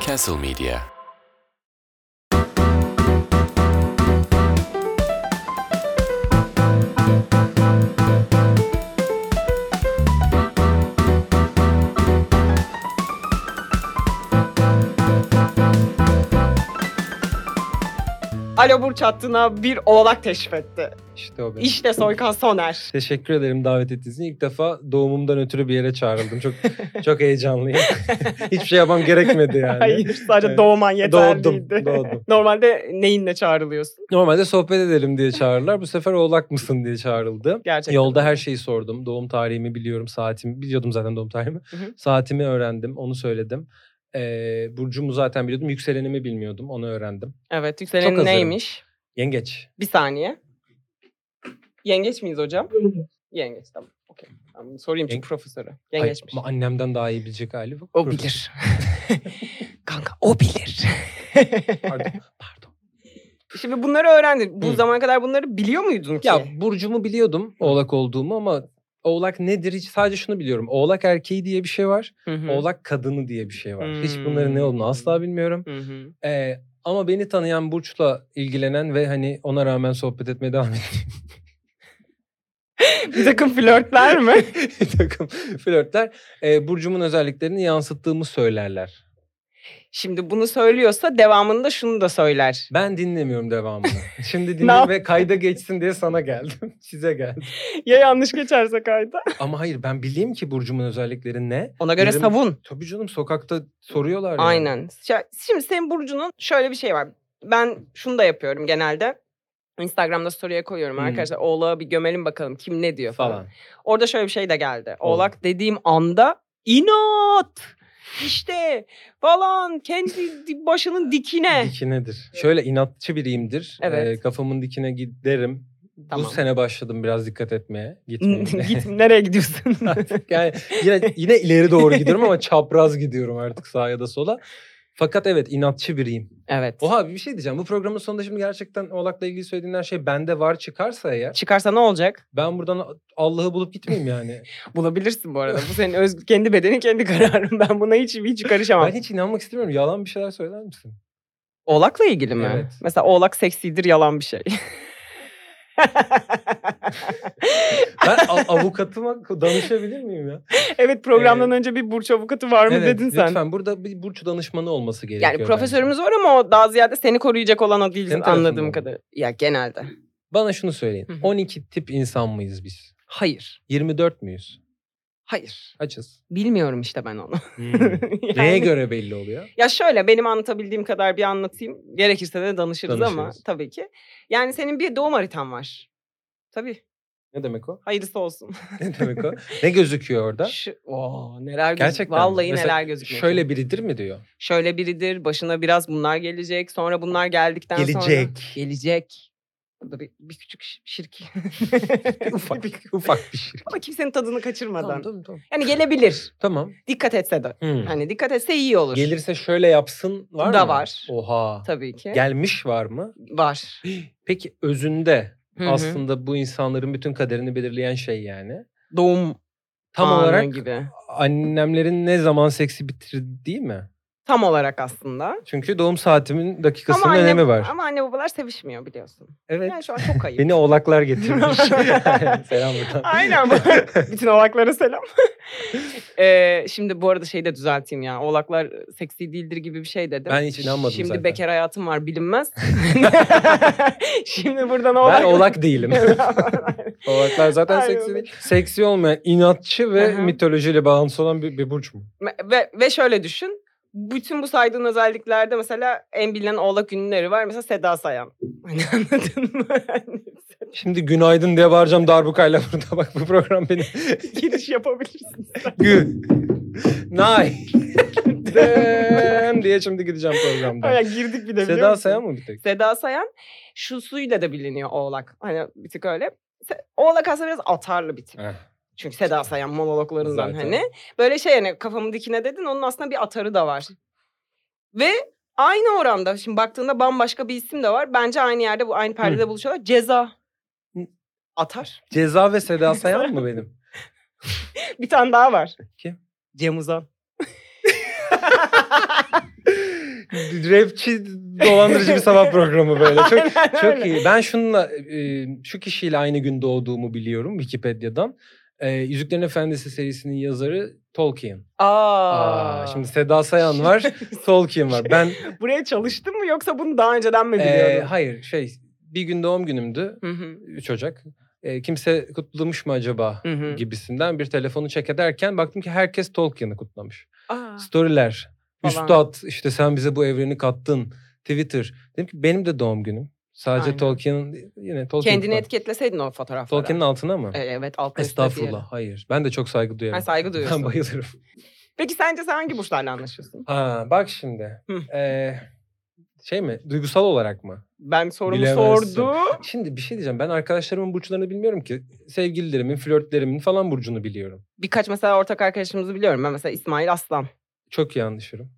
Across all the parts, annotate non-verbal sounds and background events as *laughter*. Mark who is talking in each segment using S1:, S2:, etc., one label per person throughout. S1: Castle Media.
S2: Alo Burç hattına bir oğlak teşrif etti.
S3: İşte o benim.
S2: İşte Soykan Soner.
S3: Teşekkür ederim davet ettiğiniz için. İlk defa doğumumdan ötürü bir yere
S2: *laughs*
S3: çağrıldım. Çok çok heyecanlıyım. *laughs* Hiçbir şey yapmam gerekmedi yani.
S2: Hayır sadece
S3: Evet.
S2: doğman yeterliydi.
S3: Doğdum, doğdum.
S2: Normalde neyinle çağrılıyorsun?
S3: Normalde sohbet edelim diye çağırırlar. Bu sefer oğlak mısın diye çağrıldım.
S2: Gerçekten.
S3: Yolda her şeyi sordum. Doğum tarihimi biliyorum, saatimi biliyordum zaten doğum tarihimi.
S2: Hı hı.
S3: Saatimi öğrendim, onu söyledim. Ee, burcumu zaten biliyordum. Yükselenimi bilmiyordum, onu öğrendim.
S2: Evet
S3: Çok
S2: yükselenin
S3: hazırım.
S2: neymiş?
S3: Yengeç.
S2: Bir saniye. Yengeç miyiz hocam? Yengeç tamam. Okey. Ben bunu sorayım çünkü
S3: Yenge-
S2: profesörü.
S3: Ay,
S2: Yengeçmiş.
S3: ama annemden daha iyi bilecek hali bu.
S2: o
S3: *laughs*
S2: bilir. Kanka o bilir. *laughs*
S3: Pardon. pardon.
S2: Şimdi bunları öğrendin. Bu
S3: Hı.
S2: zamana kadar bunları biliyor muydun ki?
S3: Hmm. Ya burcumu biliyordum oğlak olduğumu ama oğlak nedir hiç sadece şunu biliyorum. Oğlak erkeği diye bir şey var.
S2: Hı hı.
S3: Oğlak kadını diye bir şey var. Hiç bunların ne olduğunu asla
S2: Hmm.
S3: bilmiyorum.
S2: Hı hı.
S3: Ee, ama beni tanıyan Burç'la ilgilenen ve hani ona rağmen sohbet etmeye devam *laughs* ettiğim
S2: bir takım flörtler
S3: *laughs*
S2: mi?
S3: bir takım flörtler e, Burcu'mun özelliklerini yansıttığımı söylerler.
S2: Şimdi bunu söylüyorsa devamında şunu da söyler.
S3: Ben dinlemiyorum devamını.
S2: *laughs*
S3: Şimdi dinle
S2: yap-
S3: ve kayda geçsin diye sana geldim. *laughs* Size geldim.
S2: Ya yanlış geçerse kayda.
S3: Ama hayır ben bileyim ki Burcu'mun özellikleri ne.
S2: Ona göre
S3: Yarın-
S2: savun.
S3: Tabii canım sokakta soruyorlar yani.
S2: Aynen. Ya Şimdi senin Burcu'nun şöyle bir şey var. Ben şunu da yapıyorum genelde. Instagram'da story'e koyuyorum
S3: Hı.
S2: arkadaşlar. Oğlağı bir gömelim bakalım kim ne diyor falan.
S3: Hmm. falan.
S2: Orada şöyle bir şey de geldi.
S3: Oğlum.
S2: Oğlak dediğim anda inat işte falan kendi di- başının dikine.
S3: Dikinedir. Şöyle inatçı biriyimdir.
S2: Evet.
S3: Ee, kafamın dikine giderim.
S2: Tamam.
S3: Bu sene başladım biraz
S2: *laughs*
S3: dikkat etmeye. Gitmeyeyim.
S2: Git nereye gidiyorsun?
S3: *laughs* Artık yani yine, yine ileri doğru gidiyorum ama çapraz gidiyorum artık sağa ya da sola. Fakat evet inatçı biriyim.
S2: evet.
S3: Oha bir şey diyeceğim. Bu programın sonunda şimdi gerçekten Oğlak'la ilgili söylediğin her şey bende var çıkarsa eğer.
S2: Çıkarsa ne olacak?
S3: Ben buradan Allah'ı bulup gitmeyeyim
S2: *laughs*
S3: yani.
S2: Bulabilirsin bu arada. Bu senin öz, kendi bedenin kendi kararın. *laughs* Ben buna hiç hiç karışamam.
S3: ben hiç inanmak istemiyorum. Yalan bir şeyler söyler misin?
S2: Oğlakla ilgili mi?
S3: Evet.
S2: Mesela oğlak seksidir yalan bir şey. *laughs*
S3: Ben a- avukatıma danışabilir miyim ya?
S2: evet programdan önce bir burç avukatı var mı
S3: evet,
S2: dedin sen.
S3: Lütfen burada bir burç danışmanı olması gerekiyor.
S2: Yani
S3: bence.
S2: profesörümüz var ama o daha ziyade seni koruyacak olan o değil
S3: Senin tarafından
S2: anladığım
S3: mı?
S2: kadarıyla. Ya genelde.
S3: Bana şunu söyleyin.
S2: Hı hı.
S3: 12 tip insan mıyız biz?
S2: Hayır.
S3: 24 müyüz?
S2: Hayır.
S3: Açız.
S2: Bilmiyorum işte ben onu. *laughs*
S3: Hmm.
S2: Yani-
S3: *laughs* Neye göre belli oluyor?
S2: Ya şöyle benim anlatabildiğim kadar bir anlatayım. Gerekirse de danışırız, ama
S3: Danışırız.
S2: tabii ki. Yani senin bir doğum haritan var. Tabii.
S3: Ne demek o?
S2: Hayırlısı olsun.
S3: *laughs* Ne demek o? Ne gözüküyor orada?
S2: Şu, Oo, neler gözük-
S3: Gerçekten mi?
S2: Vallahi
S3: Mesela
S2: neler gözüküyor.
S3: Şöyle biridir mi diyor?
S2: şöyle biridir. Başına biraz bunlar gelecek. Sonra bunlar geldikten sonra.
S3: Gelecek.
S2: *laughs* Gelecek. Burada bir, bir küçük şi-
S3: *laughs*
S2: şirki.
S3: ufak, ufak bir şey. şirket.
S2: Ama kimsenin tadını kaçırmadan.
S3: Tamam, tamam, tamam.
S2: Yani gelebilir.
S3: Tamam.
S2: Dikkat etse de.
S3: Hmm.
S2: Hani dikkat etse iyi olur.
S3: Gelirse şöyle yapsın var
S2: Da
S3: mı?
S2: var.
S3: Oha.
S2: Tabii ki.
S3: Gelmiş var mı?
S2: Var.
S3: Peki özünde
S2: Hı hı.
S3: aslında bu insanların bütün kaderini belirleyen şey yani.
S2: Doğum
S3: Tam
S2: anı
S3: olarak
S2: gibi.
S3: annemlerin ne zaman seksi bitirdiği mi?
S2: Tam olarak aslında.
S3: Çünkü doğum saatimin dakikasının
S2: anne,
S3: önemi var.
S2: Ama anne babalar sevişmiyor biliyorsun.
S3: Evet.
S2: Yani şu an çok ayıp.
S3: Beni oğlaklar getirmiş.
S2: *laughs*
S3: *laughs* Selam buradan.
S2: Aynen. *laughs* Bütün oğlaklara selam. Ee, şimdi bu arada şeyi de düzelteyim ya. Oğlaklar e, seksi değildir gibi bir şey dedim.
S3: Ben hiç inanmadım
S2: Şimdi
S3: zaten.
S2: bekar hayatım var
S3: *laughs*
S2: bilinmez. şimdi buradan oğlak...
S3: Ben
S2: *laughs*
S3: oğlak değilim. *laughs* Oğlaklar zaten
S2: Aynen
S3: seksi
S2: öyle.
S3: değil. Seksi olmayan, inatçı ve
S2: Aha.
S3: mitolojiyle bağlantısı olan bir, bir burç mu?
S2: ve, ve şöyle düşün. Bütün bu saydığın özelliklerde mesela en bilinen oğlak ünlüleri var. Mesela Seda Sayan. Hani anladın mı?
S3: *laughs*
S2: Hani
S3: Şimdi günaydın diye bağıracağım darbukayla *laughs* burada. Bak bu program beni. *laughs*
S2: Giriş yapabilirsin.
S3: Gün. Night. diye şimdi gideceğim
S2: Aya
S3: programdan.
S2: girdik bir de biliyor
S3: Seda
S2: musun?
S3: Sayan mı bir tek?
S2: Seda Sayan şu suyla da biliniyor oğlak. Hani bir tık öyle. Se- Oğlak aslında biraz atarlı bir tip.
S3: Eh.
S2: Çünkü Seda Sayan monologlarından
S3: Zaten.
S2: hani. Böyle şey yani kafamı dikine dedin onun aslında bir atarı da var. Ve aynı oranda şimdi baktığında bambaşka bir isim de var. Bence aynı yerde bu aynı perdede buluşuyorlar. Ceza.
S3: Hı.
S2: Atar. *laughs*
S3: Ceza ve Seda Sayan mı benim?
S2: Bir tane daha var.
S3: Kim?
S2: Cem Uzan.
S3: Rapçi dolandırıcı bir sabah programı böyle. Çok
S2: Aynen
S3: çok
S2: öyle.
S3: iyi. Ben şununla e, şu kişiyle aynı gün doğduğumu biliyorum Wikipedia'dan. E, Yüzüklerin Efendisi serisinin yazarı Tolkien.
S2: Aa. Şey
S3: Aa, şimdi Seda
S2: *laughs*
S3: Sayan var, Tolkien var. Ben
S2: Buraya çalıştın mı yoksa bunu daha önceden mi
S3: e,
S2: biliyordun?
S3: hayır şey bir gün doğum günümdü
S2: Hı hı,
S3: 3 Ocak. E, kimse kutlamış mı acaba
S2: hı hı.
S3: gibisinden bir telefonu çek ederken baktım ki herkes Tolkien'i kutlamış.
S2: Aa.
S3: Storyler,
S2: Falan.
S3: üstad işte sen bize bu evreni kattın. Twitter. Dedim ki benim de doğum günüm. Sadece
S2: Aynen.
S3: Tolkien'in yine Tolkien
S2: Kendini
S3: kutladı.
S2: etiketleseydin o fotoğraflara.
S3: Tolkien'in altına mı?
S2: E, Evet altına
S3: Estağfurullah. Hayır. Ben de çok saygı duyarım.
S2: Ben saygı duyuyorsun.
S3: Ben bayılırım.
S2: Peki sence sen hangi burçlarla anlaşıyorsun?
S3: Ha, bak şimdi.
S2: Hı.
S3: Ee, şey mi? Duygusal olarak mı?
S2: Ben sorumu
S3: Bilemezsin.
S2: sordu.
S3: Şimdi bir şey diyeceğim. Ben arkadaşlarımın burçlarını bilmiyorum ki. Sevgililerimin, flörtlerimin falan burcunu biliyorum.
S2: Birkaç mesela ortak arkadaşımızı biliyorum. Ben mesela İsmail Aslan.
S3: Çok iyi anlaşırım.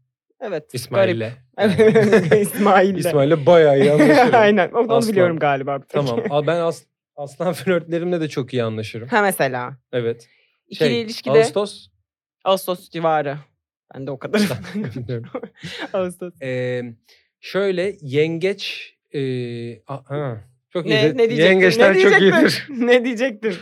S2: Evet. garip.
S3: İsmail'le.
S2: *laughs* Evet, İsmail'le.
S3: *laughs* İsmail'le bayağı iyi anlaşırım.
S2: *laughs* Aynen. Onu
S3: Aslan.
S2: biliyorum galiba. bir tek.
S3: Tamam. Al ben as- aslan *laughs* flörtlerimle de çok iyi anlaşırım.
S2: ha mesela.
S3: Evet.
S2: İkili
S3: Şey,
S2: ilişkide Ağustos. *laughs*
S3: Ağustos.
S2: civarı. Ben de o kadar.
S3: *laughs*
S2: *laughs*
S3: Bilmiyorum.
S2: Ağustos.
S3: Ee, şöyle yengeç ee, a- ha, çok
S2: Ne,
S3: iyidir.
S2: ne diyecektin?
S3: Yengeçler
S2: ne
S3: çok
S2: diyecektin?
S3: iyidir.
S2: *laughs* ne diyecektin?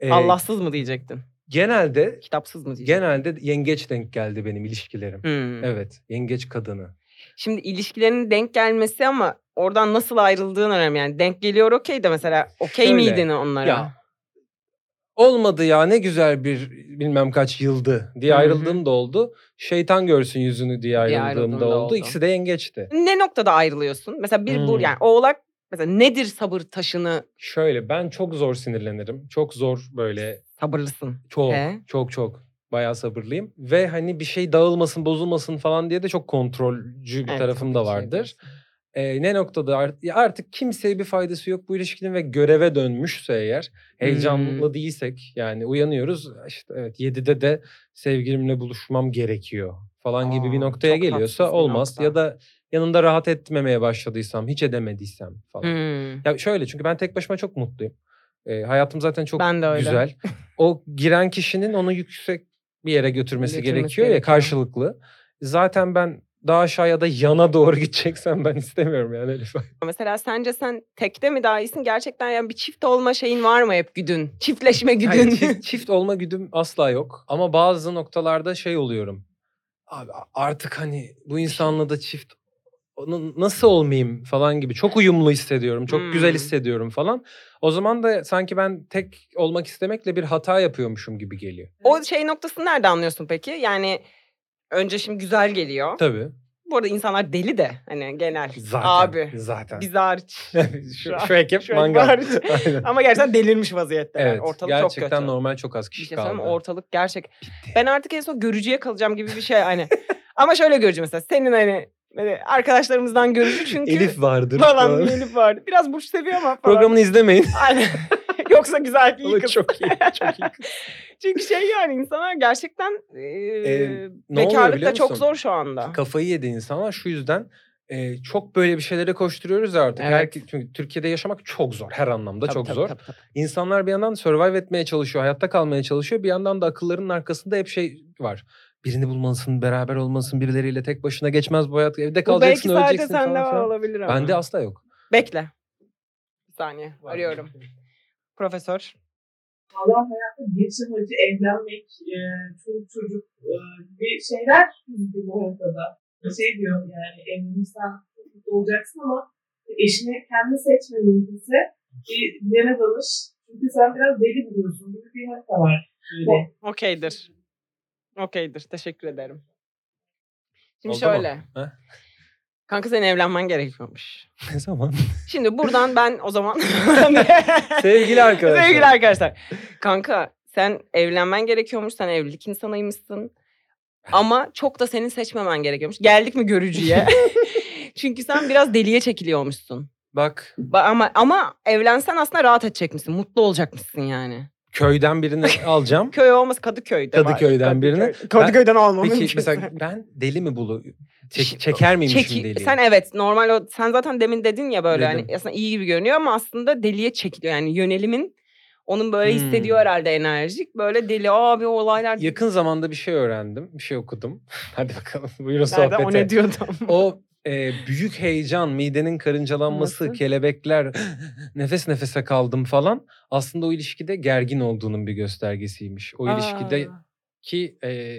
S3: Ee,
S2: Allahsız mı diyecektin?
S3: Genelde
S2: Kitapsız mı diyecektin?
S3: genelde yengeç denk geldi benim ilişkilerim.
S2: Hmm.
S3: Evet, yengeç kadını.
S2: Şimdi ilişkilerin denk gelmesi ama oradan nasıl ayrıldığın önemli. Yani denk geliyor okey de mesela okey
S3: Şöyle,
S2: miydin onlara?
S3: ya, Olmadı ya ne güzel bir bilmem kaç yıldı diye
S2: Hı hı.
S3: ayrıldığım da oldu. Şeytan görsün yüzünü diye ayrıldığım
S2: ayrıldığım
S3: da
S2: da
S3: oldu.
S2: oldu.
S3: İkisi de yengeçti.
S2: Ne noktada ayrılıyorsun? Mesela bir
S3: Hmm.
S2: bur yani oğlak mesela nedir sabır taşını
S3: Şöyle ben çok zor sinirlenirim. Çok zor böyle
S2: sabırlısın?
S3: Çok,
S2: He?
S3: çok çok. Bayağı sabırlıyım. Ve hani bir şey dağılmasın, bozulmasın falan diye de çok kontrolcü bir
S2: Evet,
S3: tarafım
S2: tabii ki
S3: da vardır.
S2: şey diyorsun.
S3: Ee, ne noktada art- ya artık kimseye bir faydası yok bu ilişkinin ve göreve dönmüşse eğer
S2: Hmm.
S3: heyecanlı değilsek yani uyanıyoruz işte evet 7'de de sevgilimle buluşmam gerekiyor falan gibi bir
S2: Aa,
S3: noktaya
S2: çok
S3: geliyorsa
S2: tatsız bir
S3: olmaz
S2: nokta.
S3: ya da yanında rahat etmemeye başladıysam hiç edemediysem falan.
S2: Hmm.
S3: Ya şöyle çünkü ben tek başıma çok mutluyum. Ee, hayatım zaten çok
S2: Ben de öyle.
S3: güzel. O giren kişinin onu yüksek bir yere götürmesi,
S2: Götürmesi
S3: gerekiyor ya
S2: gerekiyor.
S3: karşılıklı. Zaten ben daha aşağıya da yana doğru *laughs* gideceksen ben istemiyorum yani Elif.
S2: Mesela sence sen tekte mi daha iyisin? Gerçekten yani bir çift olma şeyin var mı hep güdün? Çiftleşme güdün.
S3: *laughs* Hayır, çift, çift olma güdüm asla yok. Ama bazı noktalarda şey oluyorum. Abi artık hani bu insanla da çift onu nasıl olmayayım falan gibi. Çok uyumlu hissediyorum. Çok güzel
S2: Hmm.
S3: hissediyorum falan. O zaman da sanki ben tek olmak istemekle bir hata yapıyormuşum gibi geliyor.
S2: *laughs* o şey noktasını nerede anlıyorsun peki? Yani önce şimdi güzel geliyor.
S3: Tabii.
S2: Bu arada insanlar deli de hani genel.
S3: Zaten.
S2: Abi.
S3: Zaten. *laughs*
S2: Biz hariç.
S3: şu, şu ekip
S2: Şu ekip
S3: mangal.
S2: hariç.
S3: *laughs* Aynen.
S2: Ama gerçekten delirmiş vaziyette. yani.
S3: Evet.
S2: Ortalık çok
S3: gerçekten
S2: kötü.
S3: normal çok az
S2: Bir
S3: kişi
S2: şey
S3: kaldı.
S2: söyleyeyim mi? Ortalık gerçek. Ben artık en son görücüye kalacağım gibi bir şey hani. *laughs* Ama şöyle görücü mesela. Senin hani böyle arkadaşlarımızdan
S3: *laughs*
S2: görücü çünkü.
S3: Elif vardır.
S2: falan bir Elif vardı. Biraz burç seviyor ama falan.
S3: Programını izlemeyin.
S2: *laughs* Aynen. Yoksa güzel iyi
S3: *laughs* Ama
S2: kız.
S3: çok iyi. Çok iyi.
S2: *laughs* Çünkü şey yani insanlar gerçekten e,
S3: ne oluyor
S2: bekarlık
S3: biliyor
S2: da çok
S3: musun?
S2: zor şu anda.
S3: Kafayı yedi insanlar şu yüzden e, çok böyle bir şeylere koşturuyoruz ya artık.
S2: Evet.
S3: Herke- çünkü Türkiye'de yaşamak çok zor. Her anlamda
S2: Tabii,
S3: çok
S2: tabii,
S3: zor.
S2: tabii, tabii.
S3: İnsanlar bir yandan survive etmeye çalışıyor, hayatta kalmaya çalışıyor. Bir yandan da akıllarının arkasında hep şey var. Birini bulmalısın, beraber olmalısın, birileriyle tek başına geçmez bu hayat. Evde
S2: Bu belki
S3: kalacaksın,
S2: sadece
S3: öleceksin
S2: sende
S3: falan
S2: var
S3: filan.
S2: olabilir ama.
S3: Bende asla yok.
S2: Bekle. Bir saniye. *laughs* Arıyorum. Profesör.
S1: Valla hayatta geçim acı, evlenmek, e, çocuk çocuk e, gibi şeyler çünkü bu ortada. Şey diyor yani evlenirsen çok mutlu olacaksın ama eşini kendi seçme mümkünse bir dene danış. Çünkü sen biraz deli biliyorsun gibi bir hak da var. Böyle.
S2: Okeydir. Okeydir. Teşekkür ederim. Şimdi
S3: Oldu mu?
S2: şöyle.
S3: He?
S2: Kanka senin evlenmen gerekiyormuş.
S3: *laughs* Ne zaman?
S2: Şimdi
S3: *laughs*
S2: buradan ben o zaman...
S3: Sevgili arkadaşlar.
S2: Sevgili arkadaşlar. Kanka sen evlenmen gerekiyormuş. Sen evlilik insanıymışsın. Ama çok da senin seçmemen gerekiyormuş. Geldik mi
S3: *laughs*
S2: görücüye? Çünkü sen biraz deliye çekiliyormuşsun.
S3: Bak
S2: Ba- Ama ama evlensen aslında rahat edecekmişsin. Mutlu olacakmışsın yani. *laughs*
S3: köyden birini alacağım.
S2: Köy olmaz Kadıköy'de. var.
S3: Kadıköy'den birini.
S2: Kadıköy'den almamın.
S3: Peki mesela ben deli mi bulu? Çek- çeker miyim
S2: Çeki-
S3: şimdi deliyi?
S2: Sen evet normal o sen zaten demin dedin ya böyle
S3: Dedim.
S2: hani aslında iyi gibi görünüyor ama aslında deliye çekiliyor yani yönelimin Onun böyle
S3: Hmm.
S2: hissediyor herhalde enerjik. Böyle deli abi o olaylar.
S3: Yakın zamanda bir şey öğrendim. Bir şey okudum. *laughs* Hadi bakalım. Buyurun
S2: Nerede
S3: sohbete.
S2: o ne diyordum.
S3: O e, büyük heyecan, midenin karıncalanması,
S2: Nasıl?
S3: kelebekler, *gasps* nefes nefese kaldım falan. Aslında o ilişkide gergin olduğunun bir göstergesiymiş. O ilişkide
S2: Aa,
S3: ki e,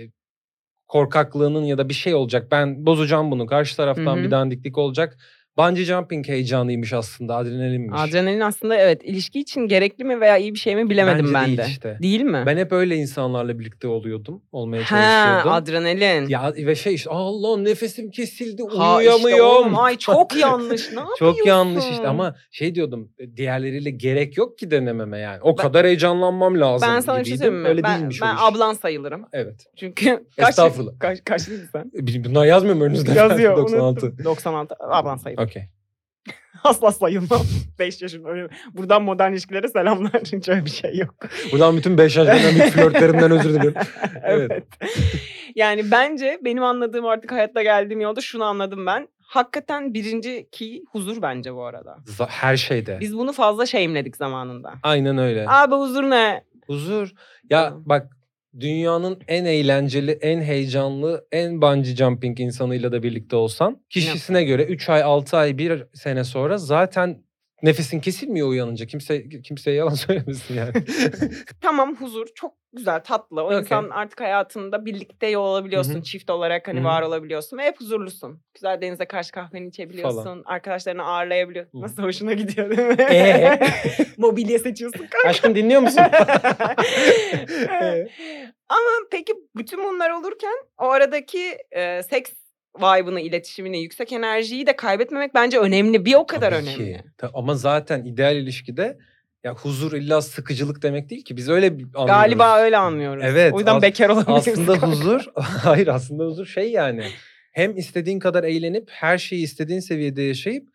S3: korkaklığının ya da bir şey olacak. Ben bozacağım bunu. Karşı taraftan
S2: Hı hı.
S3: bir dandiklik olacak. Bungee jumping heyecanıymış aslında. Adrenalinmiş.
S2: Adrenalin aslında evet ilişki için gerekli mi veya iyi bir şey mi bilemedim
S3: Bence
S2: ben
S3: değil
S2: de.
S3: işte.
S2: Değil mi?
S3: Ben hep öyle insanlarla birlikte oluyordum. Olmaya
S2: ha
S3: çalışıyordum.
S2: adrenalin.
S3: ya ve şey işte Allah nefesim kesildi
S2: Ha, işte
S3: uyuyamıyorum.
S2: oğlum, ay
S3: *laughs*
S2: çok yanlış. Ne
S3: Çok yanlış işte
S2: yapıyorsun?
S3: ama şey diyordum diğerleriyle gerek yok ki denememe yani. O
S2: Ben-
S3: kadar heyecanlanmam lazım
S2: Ben sana bir şey
S3: gibiydim.
S2: söyleyeyim mi?
S3: Öyle
S2: ben
S3: değilmiş o
S2: ben
S3: iş.
S2: ablan sayılırım.
S3: Evet. *laughs* E,
S2: Çünkü
S3: Estağfurullah.
S2: Kaç, kaçlıydın
S3: *laughs*
S2: sen?
S3: Bil- Bunlar yazmıyor mu önünüzde? *laughs*
S2: Yazıyor.
S3: 96.
S2: 96. 96. Ablan sayılır.
S3: Okey.
S2: Asla sayılmam. *laughs* 5 yaşım öyle. Buradan modern ilişkilere selamlar. *laughs* Çünkü öyle bir şey yok.
S3: Buradan bütün 5 yaş dönemlik flörtlerimden
S2: *laughs*
S3: özür dilerim. Evet.
S2: Yani bence benim anladığım artık hayatta geldiğim yolda şunu anladım ben. Hakikaten birinci ki huzur bence bu arada.
S3: Za- Her şeyde.
S2: Biz bunu fazla şeyimledik zamanında.
S3: Aynen öyle.
S2: Abi huzur ne?
S3: Huzur. Ya
S2: Tamam.
S3: bak dünyanın en eğlenceli, en heyecanlı, en bungee jumping insanıyla da birlikte olsan kişisine göre 3 ay, 6 ay, 1 sene sonra zaten nefesin kesilmiyor uyanınca. Kimse kimseye yalan *laughs* söylemesin yani.
S2: Tamam huzur çok güzel tatlı. O
S3: Okey.
S2: insan artık hayatında birlikte yol alabiliyorsun.
S3: Hı hı.
S2: Çift olarak hani
S3: Hı hı.
S2: var olabiliyorsun. Ve hep huzurlusun. Güzel denize karşı kahveni içebiliyorsun. Arkadaşlarını ağırlayabiliyorsun.
S3: Hı.
S2: Nasıl hoşuna gidiyor değil mi?
S3: Ee?
S2: *laughs* Mobilya
S3: *laughs*
S2: seçiyorsun.
S3: Aşkım
S2: *laughs*
S3: dinliyor musun? Ee,
S2: Ama peki bütün bunlar olurken o aradaki e, seks vibe'ını, iletişimini, yüksek enerjiyi de kaybetmemek bence önemli. Bir o kadar
S3: tabii ki.
S2: önemli.
S3: Ta- Ama zaten ideal ilişkide ya huzur illa sıkıcılık demek değil ki. Biz öyle bir- anlıyoruz.
S2: Galiba öyle anlıyoruz.
S3: Evet,
S2: O yüzden
S3: as-
S2: bekar olabiliriz.
S3: Aslında
S2: kanka.
S3: huzur, *laughs* hayır aslında huzur şey yani. Hem istediğin kadar eğlenip her şeyi istediğin seviyede yaşayıp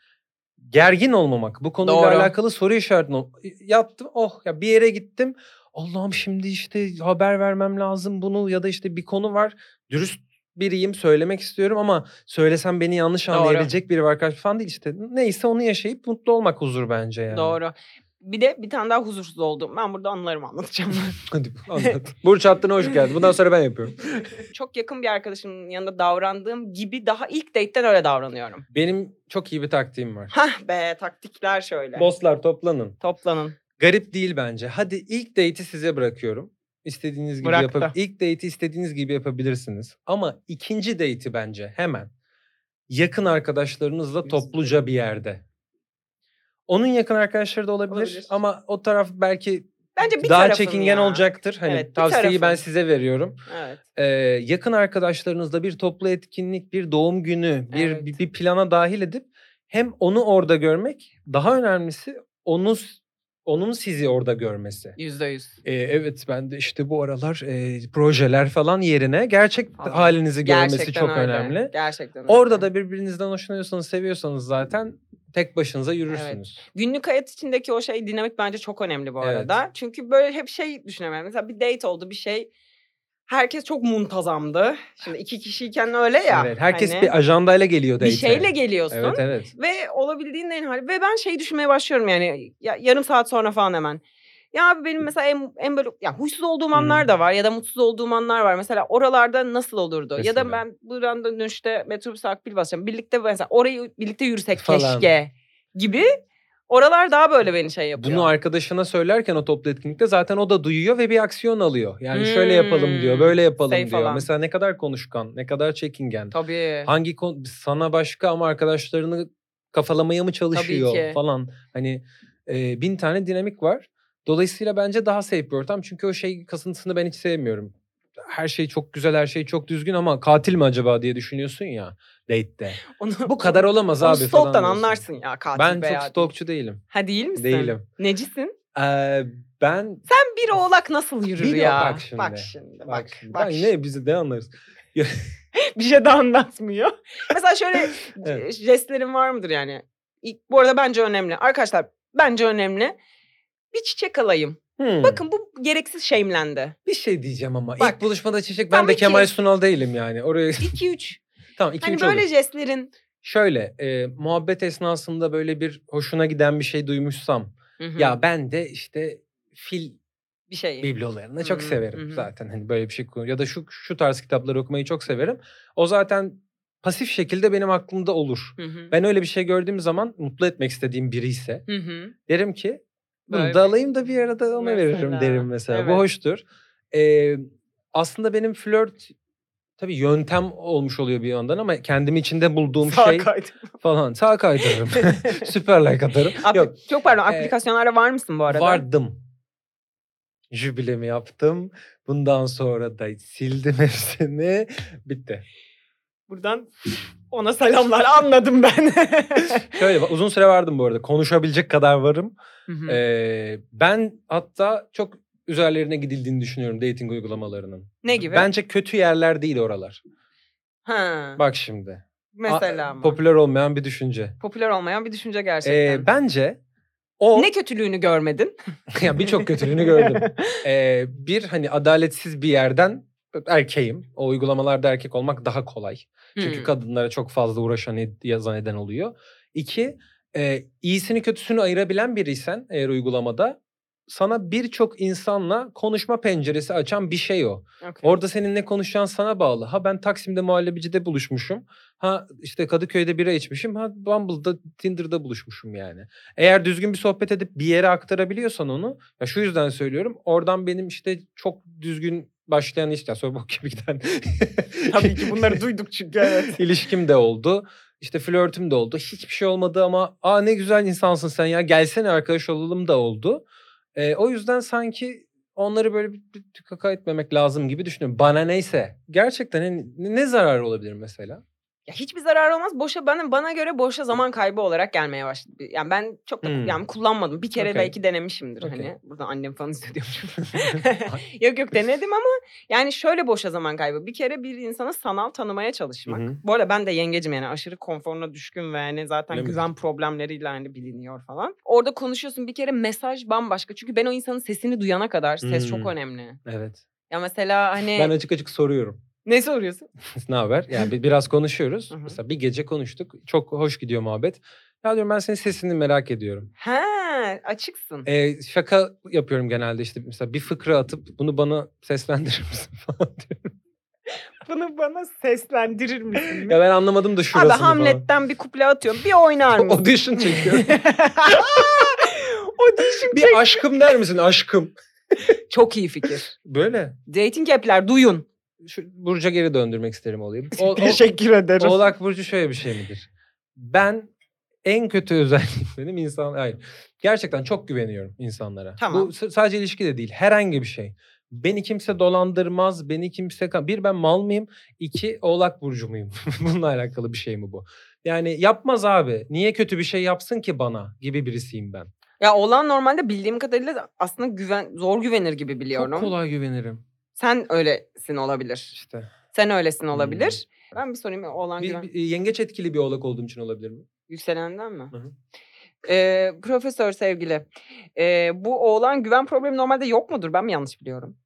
S3: gergin olmamak. Bu konuyla
S2: Doğru.
S3: alakalı soru işaretini ol- yaptım. Oh ya bir yere gittim. Allah'ım şimdi işte haber vermem lazım bunu ya da işte bir konu var. Dürüst biriyim söylemek istiyorum ama söylesem beni yanlış
S2: Doğru.
S3: anlayabilecek biri var karşı falan değil işte. Neyse onu yaşayıp mutlu olmak huzur bence yani.
S2: Doğru. Bir de bir tane daha huzursuz oldum. Ben burada anılarımı
S3: *laughs*
S2: anlatacağım.
S3: *laughs* Hadi anlat. Burç hattına hoş geldin. Bundan sonra ben yapıyorum.
S2: Çok yakın bir arkadaşımın yanında davrandığım gibi daha ilk date'ten öyle davranıyorum.
S3: Benim çok iyi bir taktiğim var.
S2: Hah be taktikler şöyle.
S3: Bosslar toplanın.
S2: Toplanın.
S3: Garip değil bence. Hadi ilk date'i size bırakıyorum. İstediğiniz gibi
S2: Bırak da.
S3: yapabilirsiniz. İlk date'i istediğiniz gibi yapabilirsiniz. Ama ikinci date'i bence hemen yakın arkadaşlarınızla topluca bir yerde. Onun yakın arkadaşları da olabilir,
S2: Olabilir.
S3: ama o taraf belki
S2: Bence bir
S3: daha
S2: tarafın
S3: çekingen
S2: ya.
S3: olacaktır. Hani
S2: Evet, bir
S3: tavsiyeyi ben
S2: tarafın.
S3: size veriyorum.
S2: Evet.
S3: Ee, yakın arkadaşlarınızla bir toplu etkinlik, bir doğum günü, bir
S2: Evet.
S3: bir, bir plana dahil edip hem onu orada görmek, daha önemlisi onun onun sizi orada görmesi.
S2: Yüzde yüz.
S3: Ee, evet ben de işte bu aralar e, projeler falan yerine gerçek
S2: Falan.
S3: halinizi görmesi
S2: Gerçekten
S3: çok
S2: öyle.
S3: önemli.
S2: Gerçekten öyle.
S3: Orada da birbirinizden hoşlanıyorsanız, seviyorsanız zaten tek başınıza yürürsünüz.
S2: Günlük hayat içindeki o şey dinamik bence çok önemli bu
S3: Evet.
S2: arada. Çünkü böyle hep şey düşünemem. Mesela bir date oldu bir şey. Herkes çok muntazamdı. Şimdi iki kişiyken öyle ya.
S3: Evet, herkes
S2: hani
S3: bir ajandayla geliyor
S2: bir
S3: date'e.
S2: şeyle geliyorsun.
S3: Evet evet.
S2: Ve olabildiğin en hali. Ve ben şey düşünmeye başlıyorum yani ya, yarım saat sonra falan hemen. Ya abi benim mesela en, en böyle ya huysuz olduğum anlar da var ya da mutsuz olduğum anlar var. Mesela oralarda nasıl olurdu? Ya da
S3: Mesela.
S2: ben buradan dönüşte metrobüs akbil basacağım. Birlikte mesela orayı birlikte yürüsek
S3: Falan.
S2: keşke gibi. Oralar daha böyle beni şey yapıyor.
S3: Bunu arkadaşına söylerken o toplu etkinlikte zaten o da duyuyor ve bir aksiyon alıyor. Yani şöyle yapalım diyor,
S2: Hmm,
S3: böyle yapalım
S2: şey
S3: diyor.
S2: falan.
S3: Mesela ne kadar konuşkan, ne kadar çekingen.
S2: Tabii.
S3: Hangi kon- sana başka ama arkadaşlarını kafalamaya mı çalışıyor
S2: ki.
S3: falan. Hani e, bin tane dinamik var. Dolayısıyla bence daha safe bir ortam. Çünkü o şey kasıntısını ben hiç sevmiyorum. Her şey çok güzel, her şey çok düzgün ama katil mi acaba diye düşünüyorsun ya date'te.
S2: Onu, *laughs*
S3: Bu kadar olamaz
S2: onu
S3: abi falan.
S2: stalk'tan
S3: diyorsun.
S2: anlarsın ya katil
S3: Ben
S2: veya
S3: çok
S2: değil.
S3: stalkçu değilim.
S2: Ha değil misin?
S3: Değilim.
S2: Necisin?
S3: Ee, ben
S2: Sen bir oğlak nasıl yürür
S3: Bir o-
S2: ya?
S3: bak şimdi,
S2: Bak şimdi. Bak,
S3: Bak,
S2: bak,
S3: şimdi, ben ne bizi de anlarız.
S2: bir şey de anlatmıyor. *laughs* Mesela şöyle
S3: *laughs* Evet.
S2: jestlerin var mıdır yani? İlk, bu arada bence önemli. Arkadaşlar bence önemli. Bir çiçek alayım.
S3: Hmm.
S2: Bakın bu gereksiz şeyimlendi.
S3: bir şey diyeceğim ama ilk
S2: Bak.
S3: buluşmada çiçek ben
S2: Tam
S3: de
S2: iki.
S3: Kemal Sunal değilim yani. Oraya
S2: 2-3.
S3: *laughs* tamam iki
S2: hani
S3: üç
S2: böyle
S3: olur.
S2: jestlerin.
S3: Şöyle e, muhabbet esnasında böyle bir hoşuna giden bir şey duymuşsam
S2: Hı hı.
S3: ya ben de işte fil
S2: bir şey.
S3: biblolarını çok
S2: Hı hı,
S3: severim
S2: hı hı.
S3: zaten. Hani böyle bir şey kullan- ya da şu şu tarz kitapları okumayı çok severim. O zaten pasif şekilde benim aklımda olur.
S2: Hı hı.
S3: Ben öyle bir şey gördüğüm zaman mutlu etmek istediğim biri ise
S2: Hı hı.
S3: derim ki bunu
S2: Böyle
S3: da
S2: bir-
S3: alayım da bir arada ona veririm
S2: *laughs* Mesela,
S3: derim mesela. Bu
S2: evet.
S3: hoştur. Ee, aslında benim flört tabii yöntem olmuş oluyor bir yandan ama kendim içinde bulduğum
S2: Sağa
S3: şey
S2: kaydım.
S3: falan.
S2: *laughs*
S3: Sağ kaydırırım. *laughs* Süper like atarım.
S2: Apl-
S3: *laughs* Yok
S2: Çok pardon
S3: e,
S2: aplikasyonlara var mısın bu arada?
S3: vardım. Jübilemi yaptım. Bundan sonra da sildim *laughs* hepsini. Bitti.
S2: Buradan ona selamlar anladım
S3: *laughs*
S2: ben.
S3: Şöyle uzun süre vardım bu arada. Konuşabilecek kadar varım.
S2: Hı hı.
S3: Ee, ben hatta çok üzerlerine gidildiğini düşünüyorum dating uygulamalarının.
S2: ne gibi?
S3: Bence kötü yerler değil oralar.
S2: ha,
S3: Bak şimdi. A-
S2: mesela mı?
S3: Popüler olmayan bir düşünce.
S2: popüler olmayan bir düşünce
S3: Ee,
S2: gerçekten.
S3: bence o
S2: Ne kötülüğünü görmedin?
S3: *laughs* ya birçok
S2: *laughs*
S3: kötülüğünü gördüm. Ee, bir hani adaletsiz bir yerden erkeğim. O uygulamalarda erkek olmak daha kolay. Çünkü
S2: Hmm.
S3: kadınlara çok fazla uğraşan ed- yazan eden oluyor. İki, e, iyisini kötüsünü ayırabilen biriysen eğer uygulamada sana birçok insanla konuşma penceresi açan bir şey o.
S2: Okey.
S3: Orada senin ne konuşacağın sana bağlı. Ha ben Taksim'de muhallebicide buluşmuşum. Ha işte Kadıköy'de bira içmişim. Ha Bumble'da Tinder'da buluşmuşum yani. Eğer düzgün bir sohbet edip bir yere aktarabiliyorsan onu. Ya şu yüzden söylüyorum. Oradan benim işte çok düzgün başlayan işte sonra bok gibi giden.
S2: *laughs* Tabii ki
S3: *laughs*
S2: bunları duyduk çünkü evet.
S3: İlişkim de oldu. İşte flörtüm de oldu. Hiçbir şey olmadı ama aa ne güzel insansın sen ya gelsene arkadaş olalım da oldu. Ee, o yüzden sanki onları böyle bir, bir kaka etmemek lazım gibi düşünüyorum. Bana neyse. Gerçekten hani ne, ne zararı olabilir mesela?
S2: *laughs* Ya hiçbir zarar olmaz. Boşa bana bana göre boşa zaman kaybı olarak gelmeye başladı. Yani ben çok da
S3: Hmm.
S2: yani kullanmadım. Bir kere
S3: Okey.
S2: belki denemişimdir
S3: Okey.
S2: hani. Buradan annem falan *laughs* izliyormuş. yok yok denedim ama yani şöyle boşa zaman kaybı. Bir kere bir insanı sanal tanımaya çalışmak.
S3: Hı hı.
S2: Bu arada ben de yengecim yani aşırı konforuna düşkün ve yani zaten
S3: Öyle mi?
S2: güven problemleriyle hani biliniyor falan. Orada konuşuyorsun bir kere mesaj bambaşka. Çünkü ben o insanın sesini duyana kadar ses
S3: Hmm.
S2: çok önemli.
S3: Evet.
S2: Ya mesela hani
S3: Ben açık açık soruyorum.
S2: *laughs* ne soruyorsun?
S3: ne haber? Yani bi- biraz konuşuyoruz.
S2: Hı hı.
S3: Mesela bir gece konuştuk. Çok hoş gidiyor muhabbet. Ya diyorum ben senin sesini merak ediyorum.
S2: He açıksın.
S3: Ee, şaka yapıyorum genelde işte mesela bir fıkra atıp bunu bana seslendirir misin *laughs* falan diyorum.
S2: Bunu bana seslendirir misin?
S3: Ya ben anlamadım da
S2: Abi
S3: şurasını
S2: Hamlet'ten bir kuple atıyorum. Bir oynar
S3: *laughs* falan.
S2: mısın? *laughs*
S3: Audition çekiyorum.
S2: o değişim
S3: bir aşkım der misin aşkım?
S2: Çok iyi fikir.
S3: Böyle.
S2: Dating app'ler
S3: *laughs*
S2: duyun.
S3: Şu Burcu'ya geri döndürmek isterim olayım. O,
S2: Teşekkür
S3: o,
S2: ederim.
S3: Oğlak Burcu şöyle bir şey midir? Ben en kötü özelliğim *laughs* benim insan... Hayır. Gerçekten çok güveniyorum insanlara.
S2: Tamam.
S3: Bu s- sadece ilişki de değil. Herhangi bir şey. Beni kimse dolandırmaz. Beni kimse... ka- Bir ben mal mıyım? İki Oğlak Burcu muyum? *laughs* Bununla alakalı bir şey mi bu? Yani yapmaz abi. Niye kötü bir şey yapsın ki bana? Gibi birisiyim ben.
S2: Ya olan normalde bildiğim kadarıyla aslında güven zor güvenir gibi biliyorum.
S3: Çok kolay güvenirim.
S2: Sen öylesin olabilir.
S3: İşte.
S2: Sen öylesin olabilir. Ben bir sorayım olan
S3: Hmm. Bir,
S2: güven.
S3: bir- yengeç etkili bir oğlak olduğum için olabilir mi?
S2: Yükselenden mi?
S3: Hı hı.
S2: Ee, profesör sevgili. ee, bu oğlan güven problemi normalde yok mudur? Ben mi yanlış biliyorum?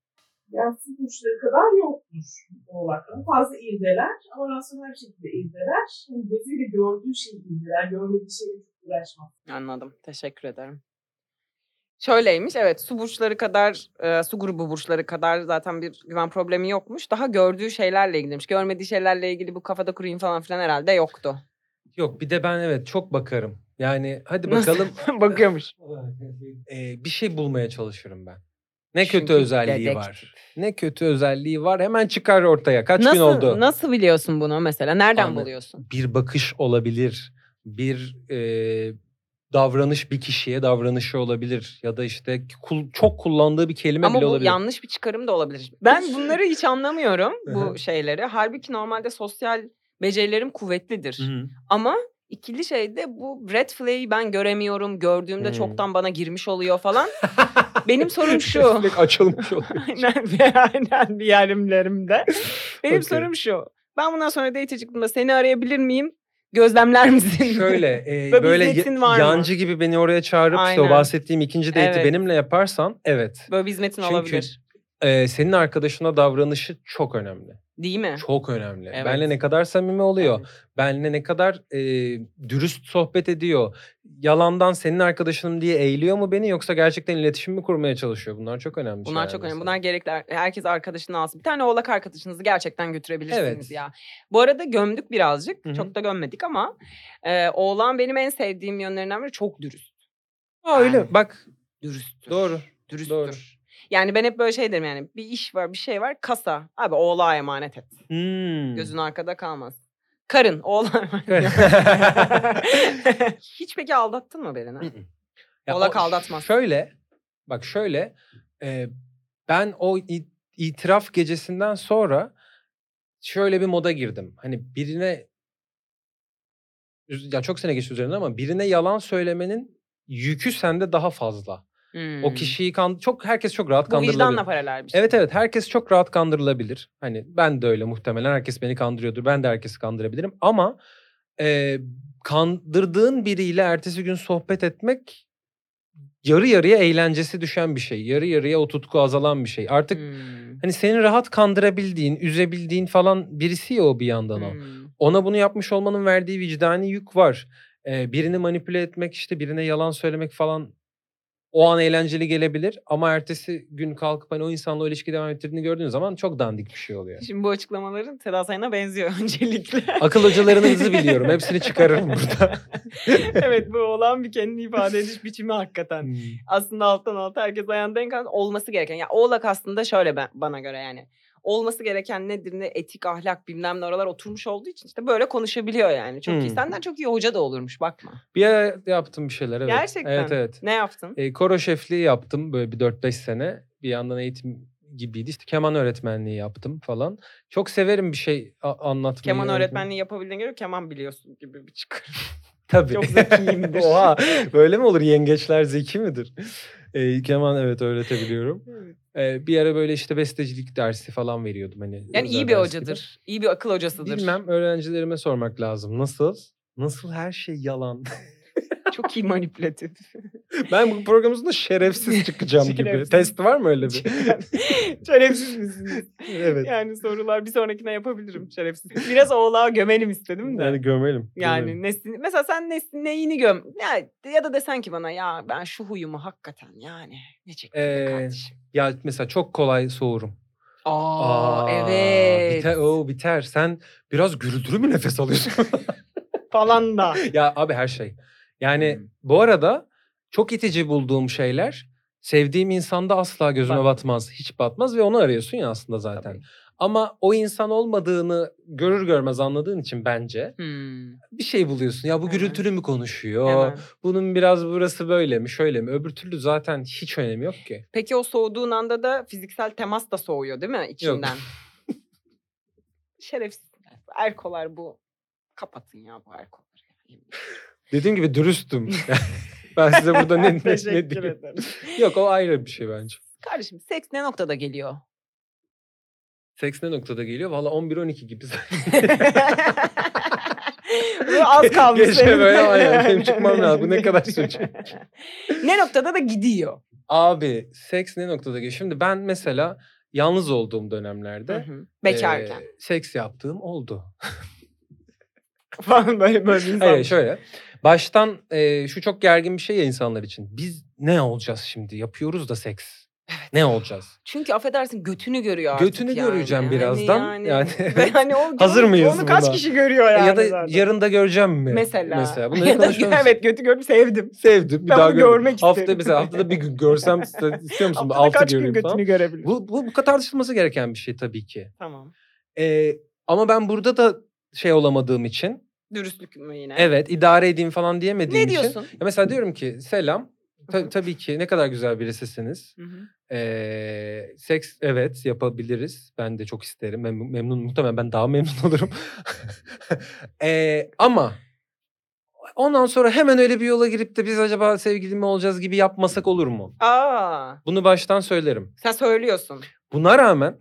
S1: Yani su burçları kadar yoktur oğlakların. Fazla irdeler ama rasyonel bir şekilde irdeler. Hani gözüyle gördüğü şeyi irdeler. Görmediği şeyle çok uğraşmaz.
S2: Anladım. Teşekkür ederim. Şöyleymiş evet su burçları kadar e, su grubu burçları kadar zaten bir güven problemi yokmuş. Daha gördüğü şeylerle ilgiliymiş. Görmediği şeylerle ilgili bu kafada kurayım falan filan herhalde
S3: *laughs*
S2: yoktu.
S3: Yok bir de ben evet çok bakarım. Yani hadi
S2: Nasıl?
S3: bakalım
S2: *laughs* Bakıyormuş.
S3: Ee, bir şey bulmaya çalışırım ben. Ne kötü
S2: Çünkü
S3: özelliği
S2: dedektif.
S3: var. Ne kötü özelliği var hemen çıkar ortaya. Kaç gün
S2: nasıl,
S3: oldu?
S2: Nasıl biliyorsun bunu mesela? Nereden
S3: Anladım.
S2: buluyorsun?
S3: Bir bakış olabilir. Bir e, davranış bir kişiye davranışı olabilir. Ya da işte kul- çok kullandığı bir kelime
S2: Ama bu
S3: bile olabilir.
S2: yanlış bir çıkarım da olabilir. Ben bunları hiç anlamıyorum
S3: Aha.
S2: bu şeyleri. Halbuki normalde sosyal becerilerim kuvvetlidir.
S3: Hı.
S2: Ama ikili şeyde bu red flag'i ben göremiyorum. Gördüğümde
S3: Hmm.
S2: çoktan bana girmiş oluyor
S3: *laughs*
S2: falan. Benim sorum şu.
S3: Sürekli açılmış oluyor.
S2: *laughs* aynen, bir- aynen *laughs* bir yerimlerimde. Benim
S3: Okey.
S2: sorum şu. Ben bundan sonra date çıktığımda seni arayabilir miyim? Gözlemler misin?
S3: Şöyle
S2: Böyle
S3: e,
S2: bir
S3: böyle
S2: hizmetin
S3: ya-
S2: var mı?
S3: yancı gibi beni oraya çağırıp işte o
S2: Aynen.
S3: bahsettiğim ikinci date'i
S2: Evet.
S3: benimle yaparsan evet.
S2: *laughs* Böyle bir hizmetin
S3: Çünkü-
S2: olabilir.
S3: E, senin arkadaşına davranışı çok önemli.
S2: Değil mi?
S3: Çok önemli.
S2: Evet.
S3: Benle ne kadar samimi oluyor. Benle ne kadar e, dürüst sohbet ediyor. yalandan senin arkadaşınım diye eğiliyor mu beni yoksa gerçekten iletişim mi kurmaya çalışıyor? Bunlar çok önemli.
S2: Bunlar
S3: şeyler
S2: çok önemli.
S3: mesela.
S2: Bunlar gerekli. Er, Herkes arkadaşını alsın. Bir tane oğlak arkadaşınızı gerçekten götürebilirsiniz
S3: Evet.
S2: ya. Bu arada gömdük birazcık.
S3: Hı hı.
S2: Çok da gömmedik ama e, oğlan benim en sevdiğim yönlerinden biri çok dürüst.
S3: Aa, öyle mi? bak
S2: Dürüsttür.
S3: doğru.
S2: Dürüsttür.
S3: doğru.
S2: Yani ben hep böyle şey derim yani bir iş var bir şey var kasa. Abi oğlağa emanet et.
S3: Hmm. *laughs*
S2: Gözün *laughs* arkada kalmaz. Karın oğlağa emanet
S3: Evet.
S2: et. Hiç peki aldattın mı birini?
S3: Ya
S2: Oğlak
S3: o-
S2: aldatmaz.
S3: Şöyle bak şöyle e, ben o i- itiraf gecesinden sonra şöyle bir moda girdim. Hani birine üz- ya çok sene geçti üzerine ama birine yalan söylemenin yükü sende daha fazla.
S2: Hmm.
S3: O kişiyi kan çok herkes çok rahat
S2: Bu
S3: kandırılabilir.
S2: vicdanla paralel bir şey.
S3: Evet evet herkes çok rahat kandırılabilir. Hani ben de öyle muhtemelen herkes beni kandırıyordur. Ben de herkesi kandırabilirim ama e, kandırdığın biriyle ertesi gün sohbet etmek yarı yarıya eğlencesi düşen bir şey. Yarı yarıya o tutku azalan bir şey. Artık
S2: Hmm.
S3: hani seni rahat kandırabildiğin, üzebildiğin falan birisi ya o bir yandan o.
S2: Hmm.
S3: Ona bunu yapmış olmanın verdiği vicdani yük var. Ee, birini manipüle etmek işte birine yalan söylemek falan o an eğlenceli gelebilir ama ertesi gün kalkıp hani o insanla o ilişki devam ettirdiğini gördüğün zaman çok dandik bir şey oluyor.
S2: Şimdi bu açıklamaların Seda Sayan'a benziyor *laughs* öncelikle.
S3: Akıl hocalarınızı biliyorum. Hepsini çıkarırım burada.
S2: *laughs* evet bu olan bir kendini ifade ediş biçimi hakikaten. Aslında alttan alta herkes ayağında en kalın olması gereken. Yani oğlak aslında şöyle ben, bana göre yani. Olması gereken nedir ne etik ahlak bilmem ne oralar oturmuş olduğu için işte böyle konuşabiliyor yani. Çok iyi.
S3: Hmm.
S2: Senden çok iyi hoca da olurmuş bakma.
S3: *laughs* bir ara yaptım bir şeyler evet.
S2: Gerçekten.
S3: Evet evet.
S2: Ne yaptın?
S3: E, koro şefliği yaptım böyle bir 4-5 sene. Bir yandan eğitim gibiydi. İşte keman öğretmenliği yaptım falan. Çok severim bir şey a- anlatmayı.
S2: Keman
S3: öğretmeyi.
S2: öğretmenliği yapabildiğine göre keman biliyorsun gibi bir çıkar.
S3: Tabii.
S2: Çok
S3: *laughs*
S2: zekiyimdir.
S3: Oha böyle mi olur? Yengeçler zeki midir? Ee, keman evet öğretebiliyorum. Ee, bir ara böyle işte bestecilik dersi falan veriyordum. hani.
S2: Yani
S3: özel
S2: iyi bir
S3: ders gibi.
S2: hocadır. iyi bir akıl hocasıdır.
S3: Bilmem öğrencilerime sormak lazım. Nasıl? Nasıl her şey *laughs* yalan?
S2: Çok iyi manipülatif.
S3: ben bu programımızda şerefsiz çıkacağım gibi.
S2: Şerefsiz.
S3: Test var mı öyle bir?
S2: *laughs* Şerefsiz misiniz?
S3: *laughs* evet.
S2: Yani sorular bir sonrakine yapabilirim şerefsiz. Biraz oğlağa gömelim istedim de.
S3: Yani gömelim. gömelim.
S2: Yani nesini, mesela sen nesini, neyini göm ya, ya da desen ki bana ya ben şu huyumu hakikaten yani ne çekti be
S3: Ee,
S2: kardeşim.
S3: Ya mesela çok kolay soğurum.
S2: Aa, evet
S3: Biter, oo, biter. Sen biraz gürültülü mü nefes alıyorsun?
S2: *laughs* falan da.
S3: Ya abi her şey. Yani
S2: Hmm.
S3: bu arada çok itici bulduğum şeyler sevdiğim insanda asla gözüme
S2: Bak.
S3: batmaz. Hiç batmaz ve onu arıyorsun ya aslında zaten.
S2: Tabii.
S3: Ama o insan olmadığını görür görmez anladığın için bence
S2: Hmm,
S3: bir şey buluyorsun. Ya bu
S2: Hemen.
S3: gürültülü mü konuşuyor?
S2: hemen.
S3: Bunun biraz burası böyle mi şöyle mi? Öbür türlü zaten hiç önemi yok ki.
S2: Peki o soğuduğun anda da fiziksel temas da soğuyor değil mi
S3: *laughs*
S2: içinden? Şerefsiz. Erkolar bu. Kapatın ya bu erkoları.
S3: Dediğim gibi dürüstüm. *laughs* ben size burada ne, ne, ne
S2: *laughs* Teşekkür
S3: diyeyim?
S2: ederim.
S3: Yok o ayrı bir şey bence.
S2: Kardeşim seks ne noktada geliyor?
S3: 80 noktada geliyor. Valla 11-12 gibi.
S2: Bu az kalmış.
S3: Keşke
S2: senin.
S3: böyle aynen, benim çıkmam lazım. Bu ne kadar sürecek?
S2: *laughs* ne noktada da gidiyor.
S3: *laughs* Abi seks ne noktada geliyor? Şimdi ben mesela yalnız olduğum dönemlerde
S2: Bekarken.
S3: eee, seks yaptığım oldu. Ee,
S2: Falan böyle böyle bir
S3: Hayır
S2: insan.
S3: şöyle. Baştan eee, şu çok gergin bir şey ya insanlar için. Biz ne olacağız şimdi? Yapıyoruz da seks.
S2: *laughs*
S3: Ne olacağız?
S2: Çünkü affedersin götünü görüyor artık
S3: Götünü
S2: yani.
S3: göreceğim
S2: Hani *laughs*
S3: birazdan. Yani
S2: Ve hani o,
S3: Hazır
S2: onu-
S3: mıyız
S2: Onu kaç
S3: buna?
S2: kişi görüyor yani
S3: ya da
S2: zaten.
S3: yarın da göreceğim mi?
S2: Mesela. *laughs*
S3: Mesela. Bunları
S2: Ya da-
S3: konuşuyoruz.
S2: evet götü gördüm sevdim.
S3: Sevdim. Bir
S2: Ben
S3: daha
S2: bunu
S3: görmek
S2: görmek
S3: Hafta
S2: isterim.
S3: mesela haftada bir gün görsem iste- istiyor musun?
S2: Haftada
S3: Altı
S2: kaç gün
S3: göreyim
S2: götünü
S3: falan.
S2: görebilirim.
S3: Bu, bu, bu tartışılması gereken bir şey tabii ki.
S2: Tamam.
S3: Ee, ama ben burada da şey olamadığım için
S2: Dürüstlük mü yine?
S3: evet şey. idare edeyim falan diyemediğim
S2: Ne
S3: için.
S2: diyorsun?
S3: Ya mesela diyorum ki selam. Ta-
S2: Hı hı.
S3: tabii ki ne kadar güzel birisisiniz.
S2: Hı hı.
S3: Ee, seks evet yapabiliriz. Ben de çok isterim. Mem- memnun muhtemelen ben daha memnun *laughs* olurum. Ee, ama ondan sonra hemen öyle bir yola girip de biz acaba sevgili mi olacağız gibi yapmasak olur mu?
S2: Aa,
S3: Bunu baştan söylerim.
S2: sen söylüyorsun.
S3: Buna rağmen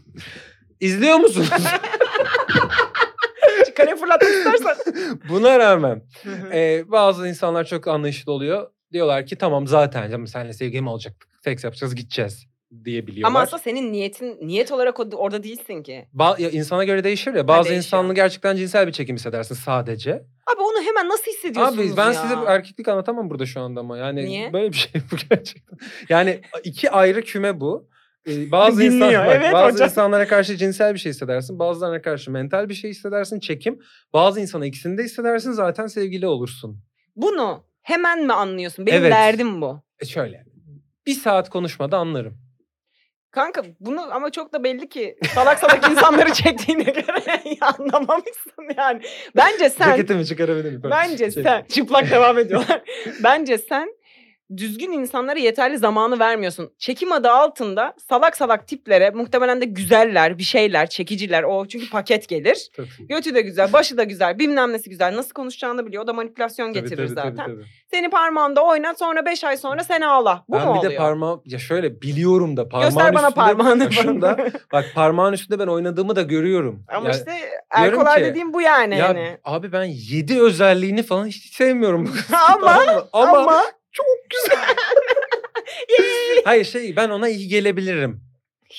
S3: *laughs* izliyor musunuz?
S2: Çıkarı fırlatmak istersen.
S3: Buna rağmen
S2: *laughs* Hı hı.
S3: e, bazı insanlar çok anlayışlı oluyor. Diyorlar ki tamam zaten canım seninle sevgili mi olacaktık? Seks yapacağız gideceğiz diyebiliyorlar.
S2: Ama aslında senin niyetin niyet olarak o- orada değilsin ki.
S3: Ba- ya insana göre değişir ya. Bazı
S2: değişiyor.
S3: insanla gerçekten cinsel bir çekim hissedersin sadece.
S2: Abi onu hemen nasıl hissediyorsunuz
S3: Abi ben
S2: ya?
S3: size erkeklik anlatamam burada şu anda ama. Yani
S2: Niye?
S3: böyle bir *laughs* şey bu gerçekten. Yani iki ayrı küme bu. Ee, bazı
S2: Dinliyor,
S3: insanlar
S2: evet
S3: bazı
S2: hocam.
S3: insanlara karşı cinsel bir şey hissedersin. Bazılarına karşı mental bir şey hissedersin, çekim. Bazı insana ikisini de hissedersin zaten sevgili olursun.
S2: Bunu hemen mi anlıyorsun? Benim
S3: Evet.
S2: derdim bu.
S3: E şöyle. Bir saat konuşmada anlarım.
S2: Kanka bunu ama çok da belli ki salak salak
S3: *laughs*
S2: insanları çektiğine göre *laughs* anlamamışsın yani. Bence sen
S3: Ceketimi çıkarabilir miyim?
S2: bence
S3: Şey-
S2: sen çıplak devam ediyorlar. *laughs* bence sen düzgün insanlara yeterli zamanı vermiyorsun. Çekim adı altında salak salak tiplere muhtemelen de güzeller, bir şeyler, çekiciler o çünkü paket gelir.
S3: Tabii.
S2: Götü de güzel, başı da güzel, bilmem nesi güzel, nasıl konuşacağını biliyor. O da manipülasyon
S3: Tabii,
S2: getirir
S3: tabii,
S2: zaten.
S3: tabii, tabii.
S2: Seni parmağında oynat sonra 5 ay sonra sen ağla. Bu
S3: ben
S2: mu
S3: bir
S2: oluyor?
S3: de parmağım ya şöyle biliyorum da
S2: Göster
S3: parmağın
S2: bana
S3: üstünde *laughs*
S2: parmağını. *laughs*
S3: şunda, bak parmağın üstünde ben oynadığımı da görüyorum.
S2: Ama
S3: Ya-
S2: işte
S3: diyorum
S2: erkolar
S3: ki,
S2: dediğim bu yani.
S3: ya
S2: hani.
S3: abi ben 7 özelliğini falan hiç
S2: *laughs*
S3: sevmiyorum. bu kızın,
S2: ama
S3: *laughs* tamam mı?
S2: ama,
S3: ama hayır şey ben ona iyi gelebilirim.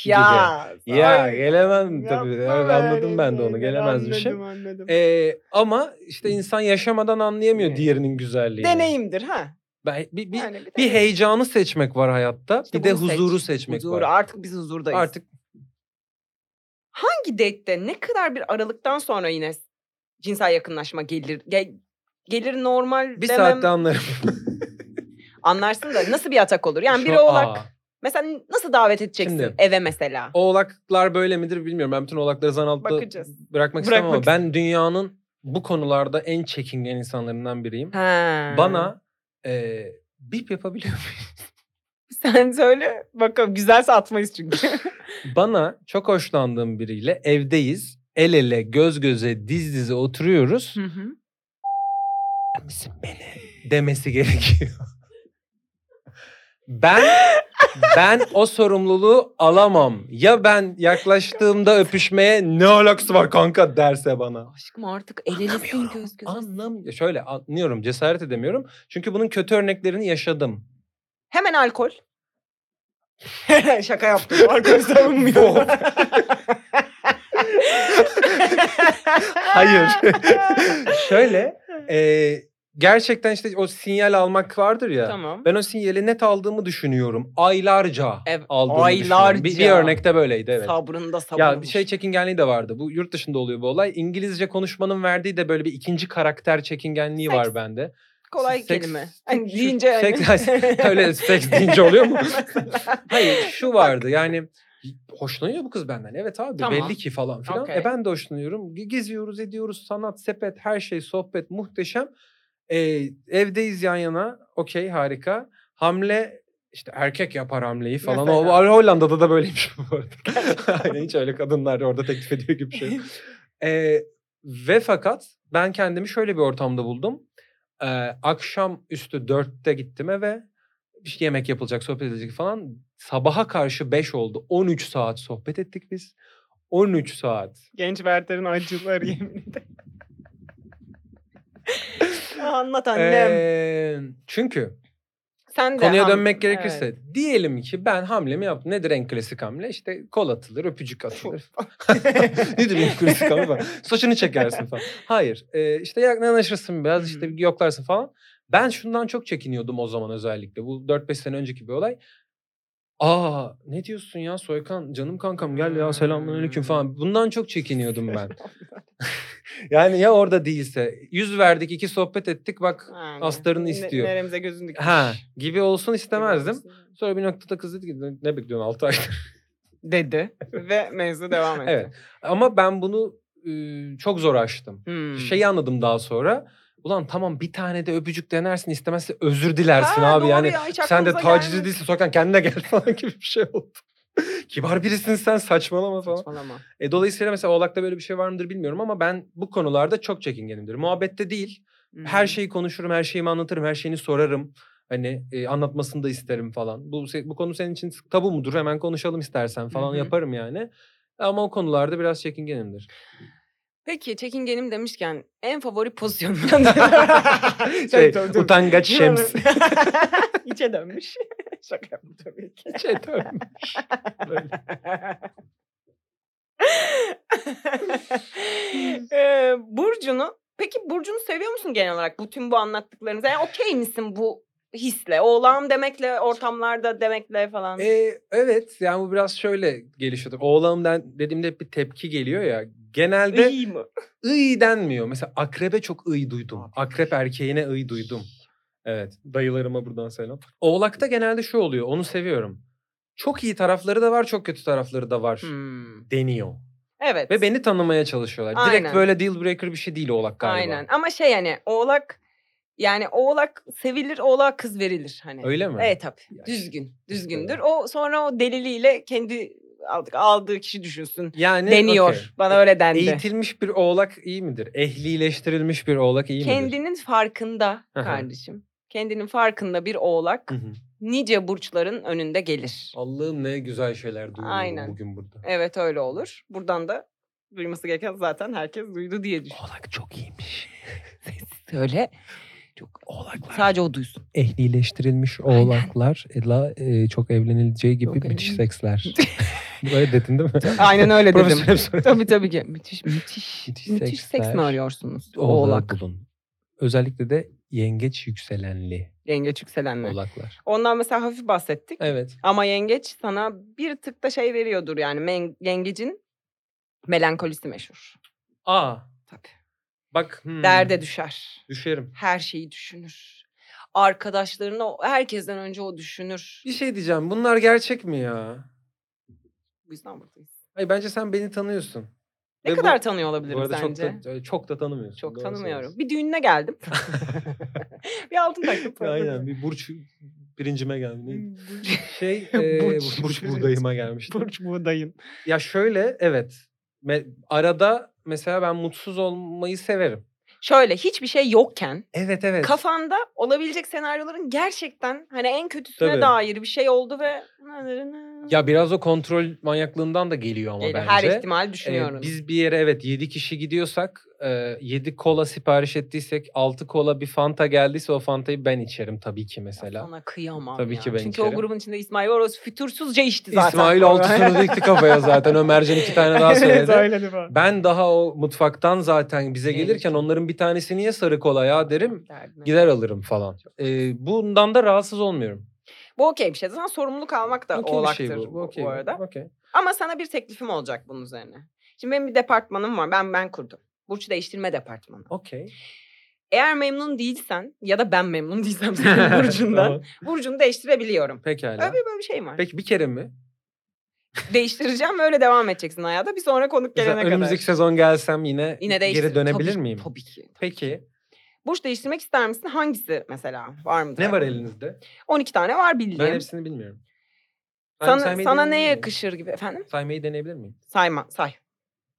S2: ya.
S3: Ya
S2: ay,
S3: gelemem tabii.
S2: yapma
S3: Evet,
S2: böyle
S3: anladım ben de onu.
S2: şeyler,
S3: Gelemezmişim.
S2: Anladım anladım.
S3: Ee, ama işte insan yaşamadan anlayamıyor
S2: Evet.
S3: diğerinin güzelliğini.
S2: Deneyimdir ha.
S3: Ben, bir, bir,
S2: Yani bir,
S3: bir
S2: deneyim.
S3: heyecanı seçmek var hayatta.
S2: İşte
S3: bir de
S2: bunu seç.
S3: huzuru seçmek
S2: Huzur,
S3: var.
S2: Artık biz huzurdayız.
S3: Artık
S2: Hangi date'de ne kadar bir aralıktan sonra yine cinsel yakınlaşma gelir? Ge- gelir normal
S3: bir
S2: demem.
S3: saatte anlarım. *laughs*
S2: Anlarsın da nasıl bir atak olur? Yani
S3: Şu-
S2: biri oğlak.
S3: Aa,
S2: Mesela nasıl davet edeceksin
S3: Şimdi-
S2: eve mesela?
S3: oğlaklar böyle midir bilmiyorum. Ben bütün oğlakları zan altında
S2: Bakacağız.
S3: bırakmak istemem ama
S2: Bırakmak
S3: ben dünyanın bu konularda en çekingen insanlarından biriyim.
S2: Ha.
S3: Bana e, bip yapabiliyor muyum? *laughs*
S2: Sen söyle bakalım güzelse atmayız çünkü.
S3: Bana çok hoşlandığım biriyle evdeyiz. El ele, göz göze, diz dize oturuyoruz.
S2: Hı *laughs* hı.
S3: misin beni? Demesi gerekiyor. ben ben o sorumluluğu alamam. Ya ben yaklaştığımda öpüşmeye ne alakası var kanka derse bana.
S2: Aşkım artık el elesin
S3: Anlamıyorum,
S2: göz göze.
S3: Anlam şöyle anlıyorum cesaret edemiyorum. Çünkü bunun kötü örneklerini yaşadım.
S2: Hemen alkol. *laughs* Şaka yaptım. Alkol savunmuyor. *laughs*
S3: Hayır. şöyle e, gerçekten işte o sinyal almak vardır ya.
S2: tamam.
S3: Ben o sinyali net aldığımı düşünüyorum. Aylarca
S2: Ev-
S3: aldığımı düşünüyorum. Bir, bir
S2: aylarca.
S3: örnekte böyleydi evet.
S2: Sabrında sabır.
S3: Ya bir şey çekingenliği de vardı. Bu yurt dışında oluyor bu olay. İngilizce konuşmanın verdiği de böyle bir ikinci karakter çekingenliği
S2: Seks.
S3: var bende.
S2: kolay
S3: Seks-
S2: kelime.
S3: seks-
S2: Hani deyince hani. *laughs*
S3: seks- öyle seks deyince oluyor mu? Hayır şu vardı yani hoşlanıyor bu kız benden. Evet abi
S2: Tamam.
S3: belli ki falan filan.
S2: Okey.
S3: E ben de hoşlanıyorum. Ge- Geziyoruz ediyoruz sanat sepet her şey sohbet muhteşem. E, evdeyiz yan yana okey harika. Hamle işte erkek yapar hamleyi falan. O,
S2: Mesela.
S3: Hollanda'da da böyleymiş bu arada. *laughs* Aynen hiç öyle kadınlar orada teklif ediyor gibi bir şey. yok. E, ve fakat ben kendimi şöyle bir ortamda buldum. E, akşam üstü dörtte gittim eve. Bir şey yemek yapılacak, sohbet edilecek falan. Sabaha karşı 5 oldu. 13 saat sohbet ettik biz. 13 saat.
S2: Genç Werther'in acıları yemin ederim. Anlat annem.
S3: Ee, çünkü
S2: Sen de
S3: konuya
S2: ham-
S3: dönmek gerekirse diyelim ki ben hamlemi yaptım. Nedir en klasik hamle? İşte kol atılır, öpücük atılır. *laughs* Nedir en klasik hamle? falan? Saçını çekersin falan. Hayır. ee, işte yaklaşırsın biraz işte
S2: Hı
S3: yoklarsın falan. Ben şundan çok çekiniyordum o zaman özellikle. Bu 4-5 sene önceki bir olay. Aa ne diyorsun ya Soykan canım kankam gel ya selamünaleyküm
S2: Hmm.
S3: falan. Bundan çok çekiniyordum ben. *laughs* yani ya orada değilse yüz verdik iki sohbet ettik bak
S2: Yani.
S3: astarını
S2: Ne-
S3: istiyor.
S2: Neremize gözün dikmiş.
S3: Ha
S2: Gibi
S3: gibi olsun istemezdim.
S2: olmasın.
S3: Sonra bir noktada kız dedi ki "Ne- ne bekliyorsun 6 ay.
S2: dedi ve mevzu devam etti.
S3: evet. Ama ben bunu ıı, çok zor aştım.
S2: Hmm.
S3: Şeyi anladım daha sonra. Ulan tamam bir tane de öpücük denersin istemezse özür dilersin
S2: Ha,
S3: abi
S2: doğru
S3: yani.
S2: ya, hiç
S3: sen de
S2: aklımıza
S3: tacizci
S2: gelmedi.
S3: değilsin sokaktan kendine gel *laughs* falan gibi bir şey oldu. Kibar birisin sen saçmalama falan.
S2: Saçmalama.
S3: E, dolayısıyla mesela Oğlak'ta böyle bir şey var mıdır bilmiyorum ama ben bu konularda çok çekingenimdir. Muhabbette değil Her
S2: Hmm.
S3: şeyi konuşurum, her şeyimi anlatırım, her şeyini sorarım. Hani e, anlatmasını da isterim falan. Bu se- bu konu senin için tabu mudur? Hemen konuşalım istersen falan
S2: Hı hı.
S3: yaparım yani. Ama o konularda
S2: *laughs*
S3: biraz çekingenimdir.
S2: Peki çekingenim demişken en favori pozisyon. Tabii,
S3: Şey,
S2: tabii.
S3: utangaç şems. *laughs*
S2: *laughs* İçe dönmüş. Şaka yaptım tabii *laughs* ki.
S3: Şey, dönmüş. Böyle.
S2: Ee, Burcu'nu peki Peki Burcu'nu seviyor musun genel olarak bütün bu anlattıklarınıza? Yani okey misin bu hisle? Oğlan demekle, ortamlarda demekle falan.
S3: Ee, evet yani bu biraz şöyle gelişiyordu. Oğlanımdan dediğimde hep bir tepki geliyor ya. Genelde
S2: İyi mi?
S3: ıy denmiyor. Mesela akrebe çok ıy duydum. Akrep erkeğine ıy duydum. Evet dayılarıma buradan selam. Oğlak'ta genelde şu oluyor onu seviyorum. Çok iyi tarafları da var çok kötü tarafları da var
S2: Hmm.
S3: deniyor.
S2: Evet.
S3: Ve beni tanımaya çalışıyorlar.
S2: Aynen.
S3: Direkt böyle deal breaker bir şey değil oğlak galiba.
S2: Aynen. Ama şey yani oğlak yani oğlak sevilir, oğlak kız verilir hani.
S3: Öyle mi?
S2: Evet tabii.
S3: Yani
S2: Düzgün. Düzgündür. O sonra o deliliyle kendi aldık aldığı kişi düşünsün.
S3: Yani
S2: Deniyor.
S3: okey. E,
S2: Bana öyle dendi.
S3: Eğitilmiş bir oğlak iyi midir? Ehlileştirilmiş bir oğlak iyi midir?
S2: Kendinin farkında
S3: Hı hı.
S2: kardeşim. Kendinin farkında bir oğlak
S3: Hı hı.
S2: nice burçların önünde gelir.
S3: Allah'ım ne güzel şeyler duyuyorum
S2: Aynen.
S3: bugün burada.
S2: Evet öyle olur. Buradan da duyması gereken zaten herkes duydu diye düşünüyorum.
S3: Oğlak çok iyiymiş.
S2: Söyle. Çok
S3: Oğlaklar
S2: sadece o duysun.
S3: ehlileştirilmiş oğlaklar la e, çok evlenileceği gibi
S2: Çok
S3: müthiş
S2: evlen- *laughs*
S3: seksler. Böyle dedin değil mi?
S2: Aynen öyle dedim.
S3: *laughs* Profesör Epstein.
S2: tabii tabii ki. Müthiş müthiş.
S3: Müthiş
S2: müthiş seks
S3: seksler.
S2: mi arıyorsunuz? *laughs*
S3: Oğlak
S2: Oğlak.
S3: bulun. Özellikle de yengeç yükselenli
S2: Yengeç yükselenler.
S3: oğlaklar.
S2: Ondan mesela hafif bahsettik.
S3: Evet.
S2: Ama yengeç sana bir tık da şey veriyordur yani. Men- yengecin melankolisi meşhur.
S3: Aa.
S2: Tabii.
S3: Bak. hmm,
S2: Derde düşer.
S3: Düşerim.
S2: Her şeyi düşünür. Arkadaşlarını o- herkesten önce o düşünür.
S3: Bir şey diyeceğim. Bunlar gerçek mi ya?
S2: Bu yüzden buradayız.
S3: Hayır bence sen beni tanıyorsun.
S2: Ne
S3: Ve bu-
S2: kadar tanıyor
S3: Bu
S2: olabilirim
S3: arada çok
S2: sence? Çok,
S3: da, çok da tanımıyorsun. doğru
S2: tanımıyorum. Bir düğününe
S3: *laughs*
S2: geldim. *laughs* bir altın taktım.
S3: söylüyorsun. Aynen bir burç birincime geldi. Neydi?
S2: *laughs*
S3: Şey,
S2: Hmm, Burç.
S3: burç, burç buğdayıma gelmişti.
S2: Burç buğdayın.
S3: Ya şöyle evet. Me- arada mesela ben mutsuz olmayı severim.
S2: Şöyle hiçbir şey yokken
S3: Evet evet.
S2: kafanda olabilecek senaryoların gerçekten hani en kötüsüne
S3: Tabii.
S2: dair bir şey oldu ve
S3: ya biraz o kontrol manyaklığından da geliyor ama
S2: Geliyor.
S3: bence.
S2: her ihtimal
S3: Ee,
S2: düşünüyorum.
S3: biz bir yere evet 7 kişi gidiyorsak, 7 kola sipariş ettiysek, 6 kola bir fanta geldiyse o fantayı ben içerim tabii ki mesela.
S2: Sana kıyamam
S3: Tabii
S2: ya.
S3: ki ben
S2: Çünkü o
S3: içerim.
S2: grubun içinde İsmail var. O fütursuzca içti zaten. *laughs*
S3: İsmail altısını dikti kafaya zaten. Ömercan iki tane daha söyledi. Ben daha o mutfaktan zaten bize
S2: Evet.
S3: gelirken onların bir tanesi niye sarı kola ya derim.
S2: Derdine.
S3: Gider alırım falan. Ee, bundan da rahatsız olmuyorum.
S2: Bu okey bir şey. Zaten sorumluluk almak da
S3: Okey bir şey
S2: oğlaktır bu,
S3: okey
S2: bu
S3: bir-
S2: arada.
S3: okey.
S2: Ama sana bir teklifim olacak bunun üzerine. Şimdi benim bir departmanım var. Ben ben kurdum. Burç değiştirme departmanı.
S3: Okey.
S2: Eğer memnun değilsen ya da ben memnun değilsem senin *laughs* burcundan.
S3: *laughs* Tamam,
S2: Burcunu değiştirebiliyorum.
S3: Pekala.
S2: Öyle bir- böyle bir şeyim var.
S3: Peki bir kere mi?
S2: Değiştireceğim ve öyle devam edeceksin hayata. Bir sonra konuk
S3: Mesela
S2: gelene kadar.
S3: önümüzdeki sezon gelsem yine,
S2: Yine değiştir.
S3: geri dönebilir
S2: Tabii-
S3: miyim?
S2: Tabii ki.
S3: Peki.
S2: Burç değiştirmek ister misin? Hangisi mesela? Var mıdır?
S3: Ne var elinizde?
S2: 12 tane var bildiğim.
S3: Ben hepsini bilmiyorum. Ben
S2: sana
S3: saymayı
S2: sana
S3: deneyebilir
S2: ne
S3: miyim?
S2: yakışır gibi efendim?
S3: Saymayı deneyebilir miyim?
S2: Sayma, say.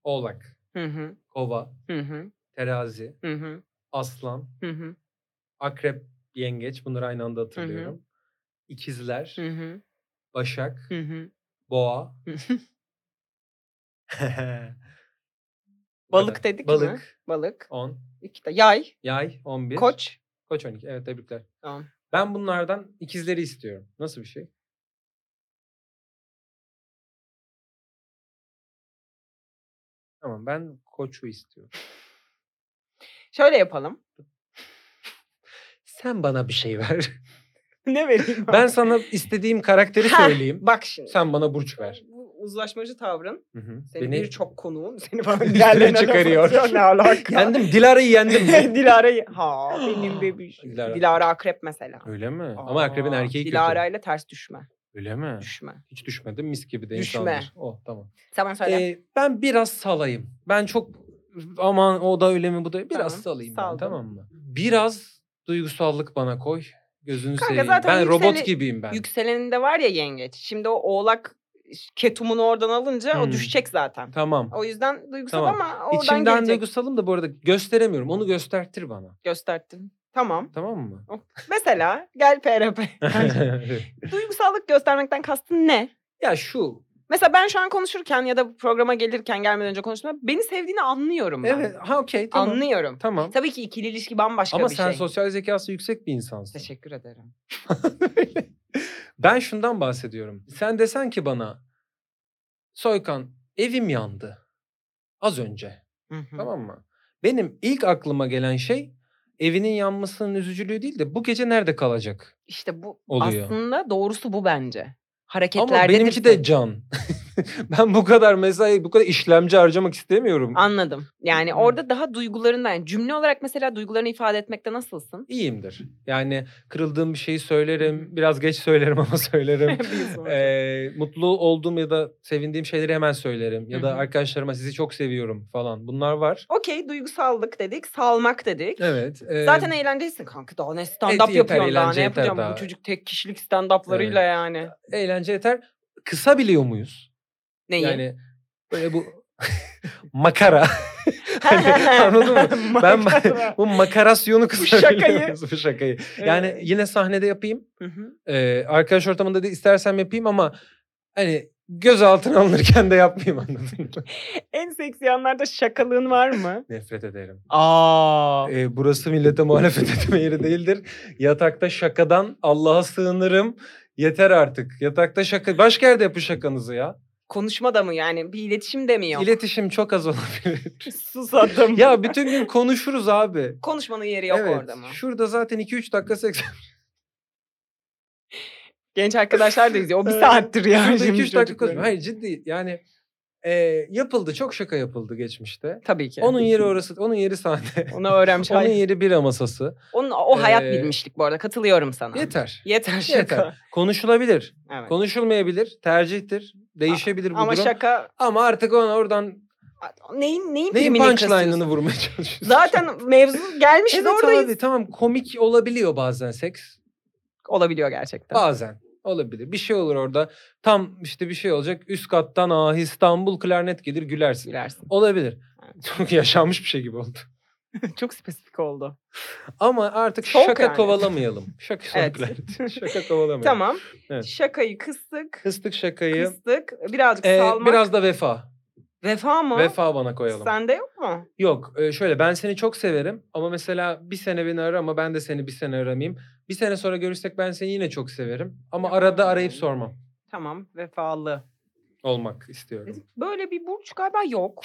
S3: Oğlak,
S2: Hı hı.
S3: kova,
S2: Hı hı.
S3: terazi,
S2: Hı hı.
S3: aslan,
S2: Hı hı.
S3: akrep, yengeç. Bunları aynı anda hatırlıyorum. İkizler,
S2: Hı hı.
S3: başak,
S2: Hı hı.
S3: boğa. *laughs*
S2: Hı
S3: Bu
S2: Balık
S3: kadar.
S2: dedik mi?
S3: Balık
S2: Balık.
S3: 10.
S2: İki de yay,
S3: Yay 11.
S2: koç.
S3: Koç 12. Evet tebrikler.
S2: Tamam.
S3: Ben bunlardan ikizleri istiyorum. Nasıl bir şey? Tamam ben koçu istiyorum.
S2: Şöyle
S3: *laughs*
S2: yapalım.
S3: Sen bana bir şey ver.
S2: *laughs* ne vereyim?
S3: ben sana istediğim karakteri
S2: Heh,
S3: söyleyeyim.
S2: Bak şimdi.
S3: Sen bana burç ver.
S2: Bu uzlaşmacı tavrın
S3: Hı hı.
S2: seni birçok konuğun seni bana
S3: Üstüne
S2: diğerlerine laf
S3: çıkarıyor.
S2: atıyor. Ne alaka?
S3: *laughs* yendim.
S2: *laughs*
S3: Dilara'yı yendim.
S2: Dilara'yı. Ha benim bebiş. Dilara,
S3: Dilara.
S2: akrep mesela.
S3: Öyle mi? Ama akrebin
S2: Aa,
S3: erkeği
S2: Dilara
S3: kötü.
S2: ile ters düşme.
S3: Öyle mi?
S2: Düşme.
S3: Hiç düşmedim. Mis gibi de
S2: Düşme.
S3: insandır. Oh tamam.
S2: Sen bana söyle.
S3: Ee, ben biraz salayım. Ben çok aman o da öyle mi bu da biraz
S2: Tamam,
S3: salayım
S2: saldım.
S3: ben tamam mı? Biraz duygusallık bana koy. Gözünü
S2: Kanka
S3: seveyim.
S2: zaten
S3: Ben
S2: yükseli-
S3: robot gibiyim ben.
S2: Yükseleninde var ya yengeç. Şimdi o oğlak ketumunu oradan alınca o
S3: Hmm.
S2: düşecek zaten.
S3: Tamam.
S2: O yüzden duygusal
S3: Tamam.
S2: ama oradan
S3: İçimden
S2: gelecek.
S3: duygusalım da bu arada gösteremiyorum. Onu göstertir bana.
S2: Gösterdin. Tamam.
S3: Tamam mı?
S2: Mesela gel
S3: *laughs*
S2: PRP. *laughs* Duygusallık göstermekten kastın ne?
S3: ya şu.
S2: Mesela ben şu an konuşurken ya da bu programa gelirken gelmeden önce konuştuğumda beni sevdiğini anlıyorum ben.
S3: Evet. Ha okey tamam.
S2: Anlıyorum.
S3: Tamam.
S2: Tabii ki ikili ilişki bambaşka
S3: Ama
S2: bir
S3: sen
S2: şey.
S3: sosyal zekası yüksek bir insansın.
S2: Teşekkür ederim.
S3: ben şundan bahsediyorum. Sen desen ki bana Soykan evim yandı az önce.
S2: Hı hı.
S3: Tamam mı? Benim ilk aklıma gelen şey evinin yanmasının üzücülüğü değil de bu gece nerede kalacak?
S2: İşte bu
S3: Oluyor.
S2: aslında doğrusu bu bence. Hareketlerde
S3: Ama benimki de can. *laughs* ben bu kadar mesai, bu kadar işlemci harcamak istemiyorum.
S2: Anladım. Yani
S3: Hmm.
S2: orada daha duygularından yani cümle olarak mesela duygularını ifade etmekte nasılsın? *laughs*
S3: İyiyimdir. Yani kırıldığım bir şeyi söylerim. Biraz geç söylerim ama *laughs* söylerim.
S2: Biz bunu-
S3: Ee, mutlu olduğum ya da sevindiğim şeyleri hemen söylerim. Ya
S2: Hı
S3: da
S2: hı.
S3: arkadaşlarıma sizi çok seviyorum falan. Bunlar var.
S2: Okey duygusallık dedik, salmak dedik.
S3: Evet. e,
S2: Zaten eğlencelisin kanka. Daha ne stand-up
S3: yeter,
S2: yapıyorsun daha
S3: eğlence
S2: ne
S3: yeter
S2: yapacağım?
S3: daha.
S2: Bu çocuk tek kişilik stand-up'larıyla yani.
S3: eğlence yeter. Kısa biliyor muyuz?
S2: Neyi?
S3: Yani böyle bu *laughs*
S2: *laughs*
S3: makara. Hani anladın mı? Ben
S2: Makara.
S3: *laughs* bu makarasyonu kısa
S2: şakayı.
S3: biliyor muyuz? Bu şakayı. Yani
S2: Evet.
S3: yine sahnede yapayım.
S2: Hı hı.
S3: Ee, arkadaş ortamında da istersem yapayım ama hani gözaltına alınırken de yapmayayım anladın mı? *laughs*
S2: en seksi anlarda şakalığın var mı?
S3: Nefret ederim.
S2: Aa.
S3: Ee, burası millete muhalefet *laughs* etme yeri değildir. Yatakta şakadan Allah'a sığınırım. Yeter artık. Yatakta şaka. Başka yerde yapın şakanızı ya.
S2: *laughs* Konuşma da mı yani? Bir iletişim de mi yok? *laughs*
S3: İletişim çok az olabilir. *laughs*
S2: Susadım.
S3: ya bütün gün konuşuruz abi.
S2: Konuşmanın yeri yok orada mı?
S3: Şurada zaten 2-3 dakika seks.
S2: Genç arkadaşlar da izliyor. O bir
S3: *laughs* Evet.
S2: saattir ya.
S3: Şurada
S2: şimdi
S3: 2-3 dakika
S2: çocukların.
S3: konuşma. Hayır ciddi yani e, yapıldı. Çok şaka yapıldı geçmişte.
S2: Tabii ki.
S3: Onun yeri orası. Onun
S2: *laughs*
S3: yeri sahne.
S2: Onu öğrenmiş.
S3: Onun
S2: Onun,
S3: yeri bira masası.
S2: onun, o hayat
S3: Ee,
S2: bilmişlik bu arada. Katılıyorum sana.
S3: Yeter.
S2: Yeter şaka.
S3: Yeter. Konuşulabilir.
S2: Evet.
S3: Konuşulmayabilir. Tercihtir. Değişebilir bu
S2: Ama
S3: durum.
S2: şaka
S3: Ama artık ona oradan
S2: neyin neyin,
S3: neyin
S2: primini
S3: punchline'ını
S2: kasıyorsun?
S3: vurmaya çalışıyorsun?
S2: Zaten şey mevzu gelmişiz
S3: *laughs* evet
S2: oradayız.
S3: abi tamam komik olabiliyor bazen seks.
S2: Olabiliyor gerçekten.
S3: Bazen olabilir. Bir şey olur orada. Tam işte bir şey olacak. Üst kattan ah İstanbul klarnet gelir gülersin.
S2: Gülersin.
S3: Olabilir. Çok *laughs* yaşanmış bir şey gibi oldu.
S2: *laughs* Çok spesifik oldu.
S3: Ama artık
S2: Soğuk
S3: şaka
S2: yani. *laughs*
S3: kovalamayalım. Şaka sonra
S2: Evet.
S3: klarnet. Şaka kovalamayalım.
S2: Tamam.
S3: Evet.
S2: Şakayı kıstık.
S3: Kıstık şakayı.
S2: Kıstık. Birazcık
S3: Ee,
S2: salmak.
S3: biraz da vefa.
S2: Vefa mı?
S3: Vefa bana koyalım.
S2: Sende yok mu?
S3: Yok e, şöyle ben seni çok severim ama mesela bir sene beni ara ama ben de seni bir sene aramayayım. Bir sene sonra görüşsek ben seni yine çok severim ama arada arayıp sormam
S2: Tamam. Vefalı.
S3: olmak istiyorum.
S2: Böyle bir burç galiba yok.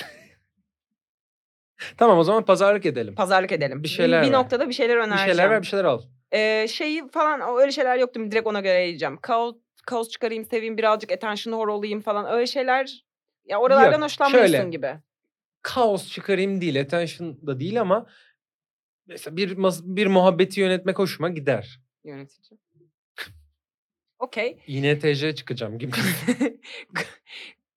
S3: Tamam o zaman pazarlık edelim.
S2: Pazarlık edelim.
S3: Bir şeyler
S2: Bir,
S3: ver.
S2: noktada bir şeyler
S3: Bir
S2: önereceğim.
S3: şeyler ver bir şeyler al.
S2: Ee, şeyi falan o- öyle şeyler yoktu. mu? Direkt ona göre yiyeceğim. Kaos, kaos çıkarayım, seveyim, birazcık attention whore olayım falan. Öyle şeyler ya oralardan
S3: şöyle.
S2: hoşlanmıyorsun gibi.
S3: Kaos çıkarayım değil attention da değil ama mesela bir mas- bir muhabbeti yönetmek hoşuma gider.
S2: Yönetici. Okey. *laughs*
S3: Yine TC çıkacağım gibi.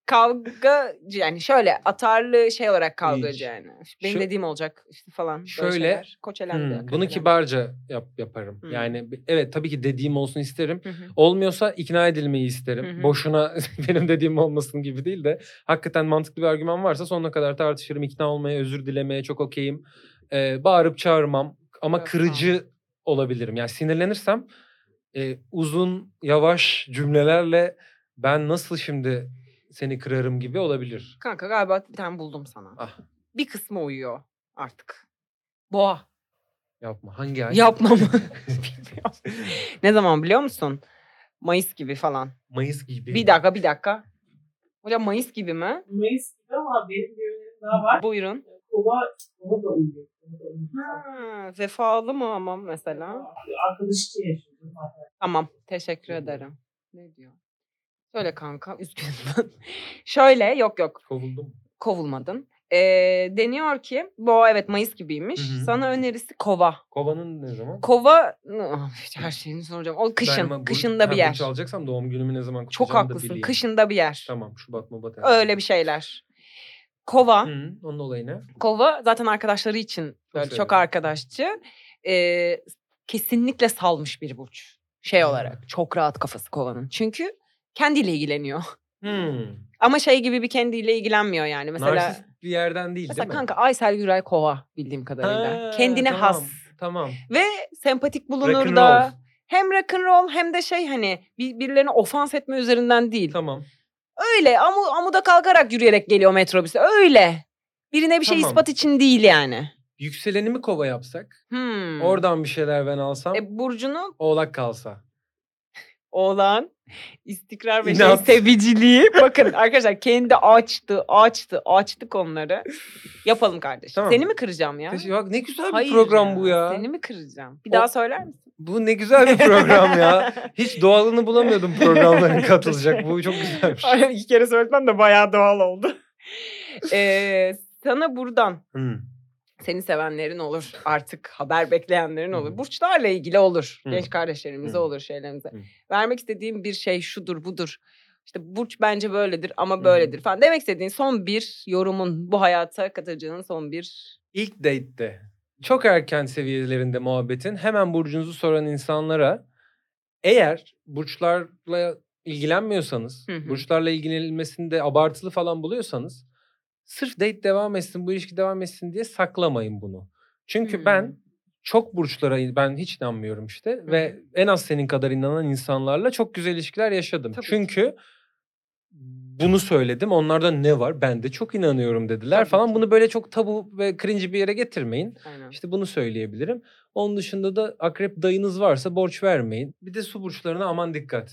S2: Kavga yani şöyle atarlı şey olarak kavgacı yani. Benim
S3: Şu-
S2: dediğim olacak işte falan. böyle
S3: Şöyle-
S2: şeyler. Koç elendi,
S3: Hmm,
S2: kız
S3: bunu
S2: elendi.
S3: kibarca yap yaparım.
S2: Hmm.
S3: Yani bi- evet tabii ki dediğim olsun isterim.
S2: Hı hı.
S3: Olmuyorsa ikna edilmeyi isterim.
S2: Hı hı.
S3: Boşuna *laughs* benim dediğim olmasın gibi değil de hakikaten mantıklı bir argüman varsa sonuna kadar tartışırım. İkna olmaya, özür dilemeye çok okeyim. Ee, bağırıp çağırmam ama
S2: Evet,
S3: kırıcı olabilirim. Yani sinirlenirsem e, uzun, yavaş cümlelerle ben nasıl şimdi seni kırarım gibi olabilir.
S2: Kanka galiba bir tane buldum sana.
S3: Ah.
S2: Bir kısmı uyuyor artık. Boğa.
S3: Yapma. Hangi ay?
S2: Yapmam. *laughs* ne zaman biliyor musun? Mayıs gibi falan.
S3: *laughs* Mayıs gibi.
S2: Bir dakika bir dakika. Hocam Mayıs gibi mi?
S1: Mayıs gibi ama benim bir önerim daha var.
S2: Buyurun.
S1: Kova, kova da uyuyor. Kova da uyuyor.
S2: Ha, vefalı mı ama mesela?
S1: Arkadaş için yaşıyor zaten.
S2: Tamam. Teşekkür ederim. Ne diyor? Söyle kanka. *laughs* Üzgünüm. Şöyle yok yok.
S3: Kovuldum.
S2: Kovulmadın. Ee, deniyor ki boğa evet Mayıs gibiymiş.
S3: Hı hı.
S2: Sana önerisi kova.
S3: Kovanın ne zaman?
S2: Kova *laughs* Ah, her şeyini soracağım. O
S3: Ben
S2: kışın.
S3: ama bur-
S2: kışında
S3: ha,
S2: bir yer.
S3: Burç alacaksam doğum günümü ne zaman
S2: Çok
S3: kutlayacağımı da
S2: haklısın.
S3: bileyim.
S2: Kışında bir yer.
S3: Tamam Şubat Mubat.
S2: Öyle bir şey şeyler. Kova.
S3: Hı, onun olayı ne?
S2: Kova zaten arkadaşları için böyle çok,
S3: severim.
S2: arkadaşçı. Ee, kesinlikle salmış bir burç. Şey
S3: Hmm.
S2: olarak çok rahat kafası kovanın. Çünkü kendiyle ilgileniyor. *laughs*
S3: Hmm.
S2: Ama şey gibi bir kendiyle ilgilenmiyor yani. Mesela
S3: Narsist bir yerden değil
S2: mesela
S3: değil mi?
S2: kanka Aysel Güray Kova bildiğim kadarıyla.
S3: Ha,
S2: Kendine
S3: tamam,
S2: has.
S3: Tamam.
S2: Ve sempatik bulunur
S3: Rock'n'roll.
S2: da. Hem rock'n'roll hem de şey hani bir- birilerine ofans etme üzerinden değil.
S3: Tamam.
S2: Öyle amu, amuda kalkarak yürüyerek geliyor metrobüse. Öyle. Birine bir şey
S3: Tamam.
S2: ispat için değil yani.
S3: Yükselenimi kova yapsak.
S2: Hmm.
S3: Oradan bir şeyler ben alsam.
S2: E, burcunu
S3: Oğlak kalsa.
S2: oğlan İstikrar ve şey,
S3: İnat. *laughs*
S2: seviciliği. Bakın arkadaşlar kendi açtı, açtı, açtı konuları. Yapalım kardeşim.
S3: Tamam.
S2: Seni mi kıracağım ya?
S3: Teşekkür- Bak ne güzel bir
S2: Hayır
S3: program bu ya.
S2: Seni mi kıracağım? Bir
S3: O-
S2: daha söyler misin?
S3: Bu ne güzel bir
S2: *laughs*
S3: program ya. Hiç doğalını bulamıyordum programlara katılacak. Bu çok şey. güzelmiş.
S2: Aynen iki kere söyletmem de bayağı doğal
S3: *laughs*
S2: oldu. Ee, sana buradan
S3: Hı.
S2: seni sevenlerin olur artık haber bekleyenlerin olur.
S3: Hı.
S2: Burçlarla ilgili olur.
S3: Hı.
S2: Genç kardeşlerimize
S3: Hı.
S2: olur şeylerimize.
S3: Hı.
S2: Vermek istediğim bir şey şudur budur. İşte burç bence böyledir
S3: Hı.
S2: ama böyledir falan. Demek istediğin son bir yorumun bu hayata katacağın son bir
S3: İlk date'te çok erken seviyelerinde muhabbetin hemen burcunuzu soran insanlara eğer burçlarla ilgilenmiyorsanız,
S2: Hı hı.
S3: burçlarla ilgilenilmesini de abartılı falan buluyorsanız sırf date devam etsin, bu ilişki devam etsin diye saklamayın bunu. Çünkü
S2: Hı.
S3: ben çok burçlara in- ben hiç inanmıyorum işte ve en az senin kadar inanan insanlarla çok güzel ilişkiler yaşadım.
S2: Tabii ki.
S3: Çünkü bunu söyledim. Onlarda ne var? Ben de çok inanıyorum dediler
S2: Tabii
S3: falan.
S2: ki.
S3: Bunu böyle çok tabu ve cringe bir yere getirmeyin.
S2: aynen. *laughs*
S3: İşte bunu söyleyebilirim. Onun dışında da akrep dayınız varsa borç vermeyin. Bir de su burçlarına aman dikkat.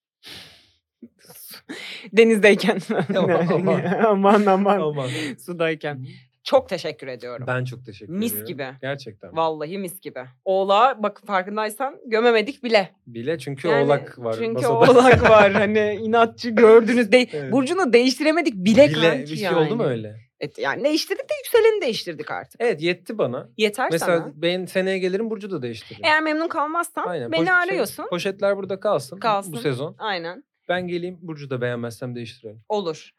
S3: *laughs*
S2: denizdeyken. *laughs*
S3: Aman.
S2: aman *laughs* aman.
S3: Aman.
S2: *laughs* Sudayken. Çok teşekkür ediyorum.
S3: Ben çok teşekkür
S2: Mis
S3: ediyorum.
S2: gibi.
S3: Gerçekten.
S2: Vallahi mis gibi. Oğlağa bak farkındaysan gömemedik bile.
S3: Bile çünkü
S2: Yani
S3: oğlak var
S2: Çünkü
S3: masada. *laughs*
S2: oğlak var hani inatçı gördünüz. De-
S3: Evet.
S2: Burcunu değiştiremedik bile,
S3: Bile
S2: kanki
S3: bir şey
S2: yani.
S3: oldu mu öyle?
S2: Evet, yani değiştirdik de yükseleni değiştirdik artık.
S3: Evet yetti bana.
S2: Yeter
S3: Mesela
S2: sana.
S3: ben seneye gelirim Burcu da değiştiririm.
S2: Eğer memnun kalmazsan
S3: Aynen,
S2: E,
S3: şey.
S2: beni
S3: poşet-
S2: arıyorsun.
S3: Poşetler burada kalsın,
S2: Kalsın.
S3: bu sezon.
S2: Aynen
S3: Ben geleyim Burcu da beğenmezsem değiştirelim.
S2: olur.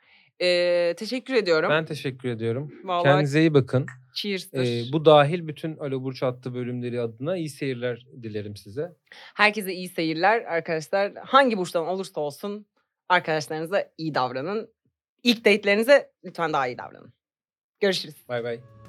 S2: Ee, teşekkür ediyorum.
S3: Ben teşekkür ediyorum.
S2: Vallahi
S3: Kendinize iyi bakın.
S2: cheers'tır.
S3: Ee, bu dahil bütün Alo Burç attı bölümleri adına iyi seyirler dilerim size.
S2: Herkese iyi seyirler arkadaşlar. Hangi burçtan olursa olsun arkadaşlarınıza iyi davranın. İlk date'lerinize lütfen daha iyi davranın. Görüşürüz.
S3: Bay bay.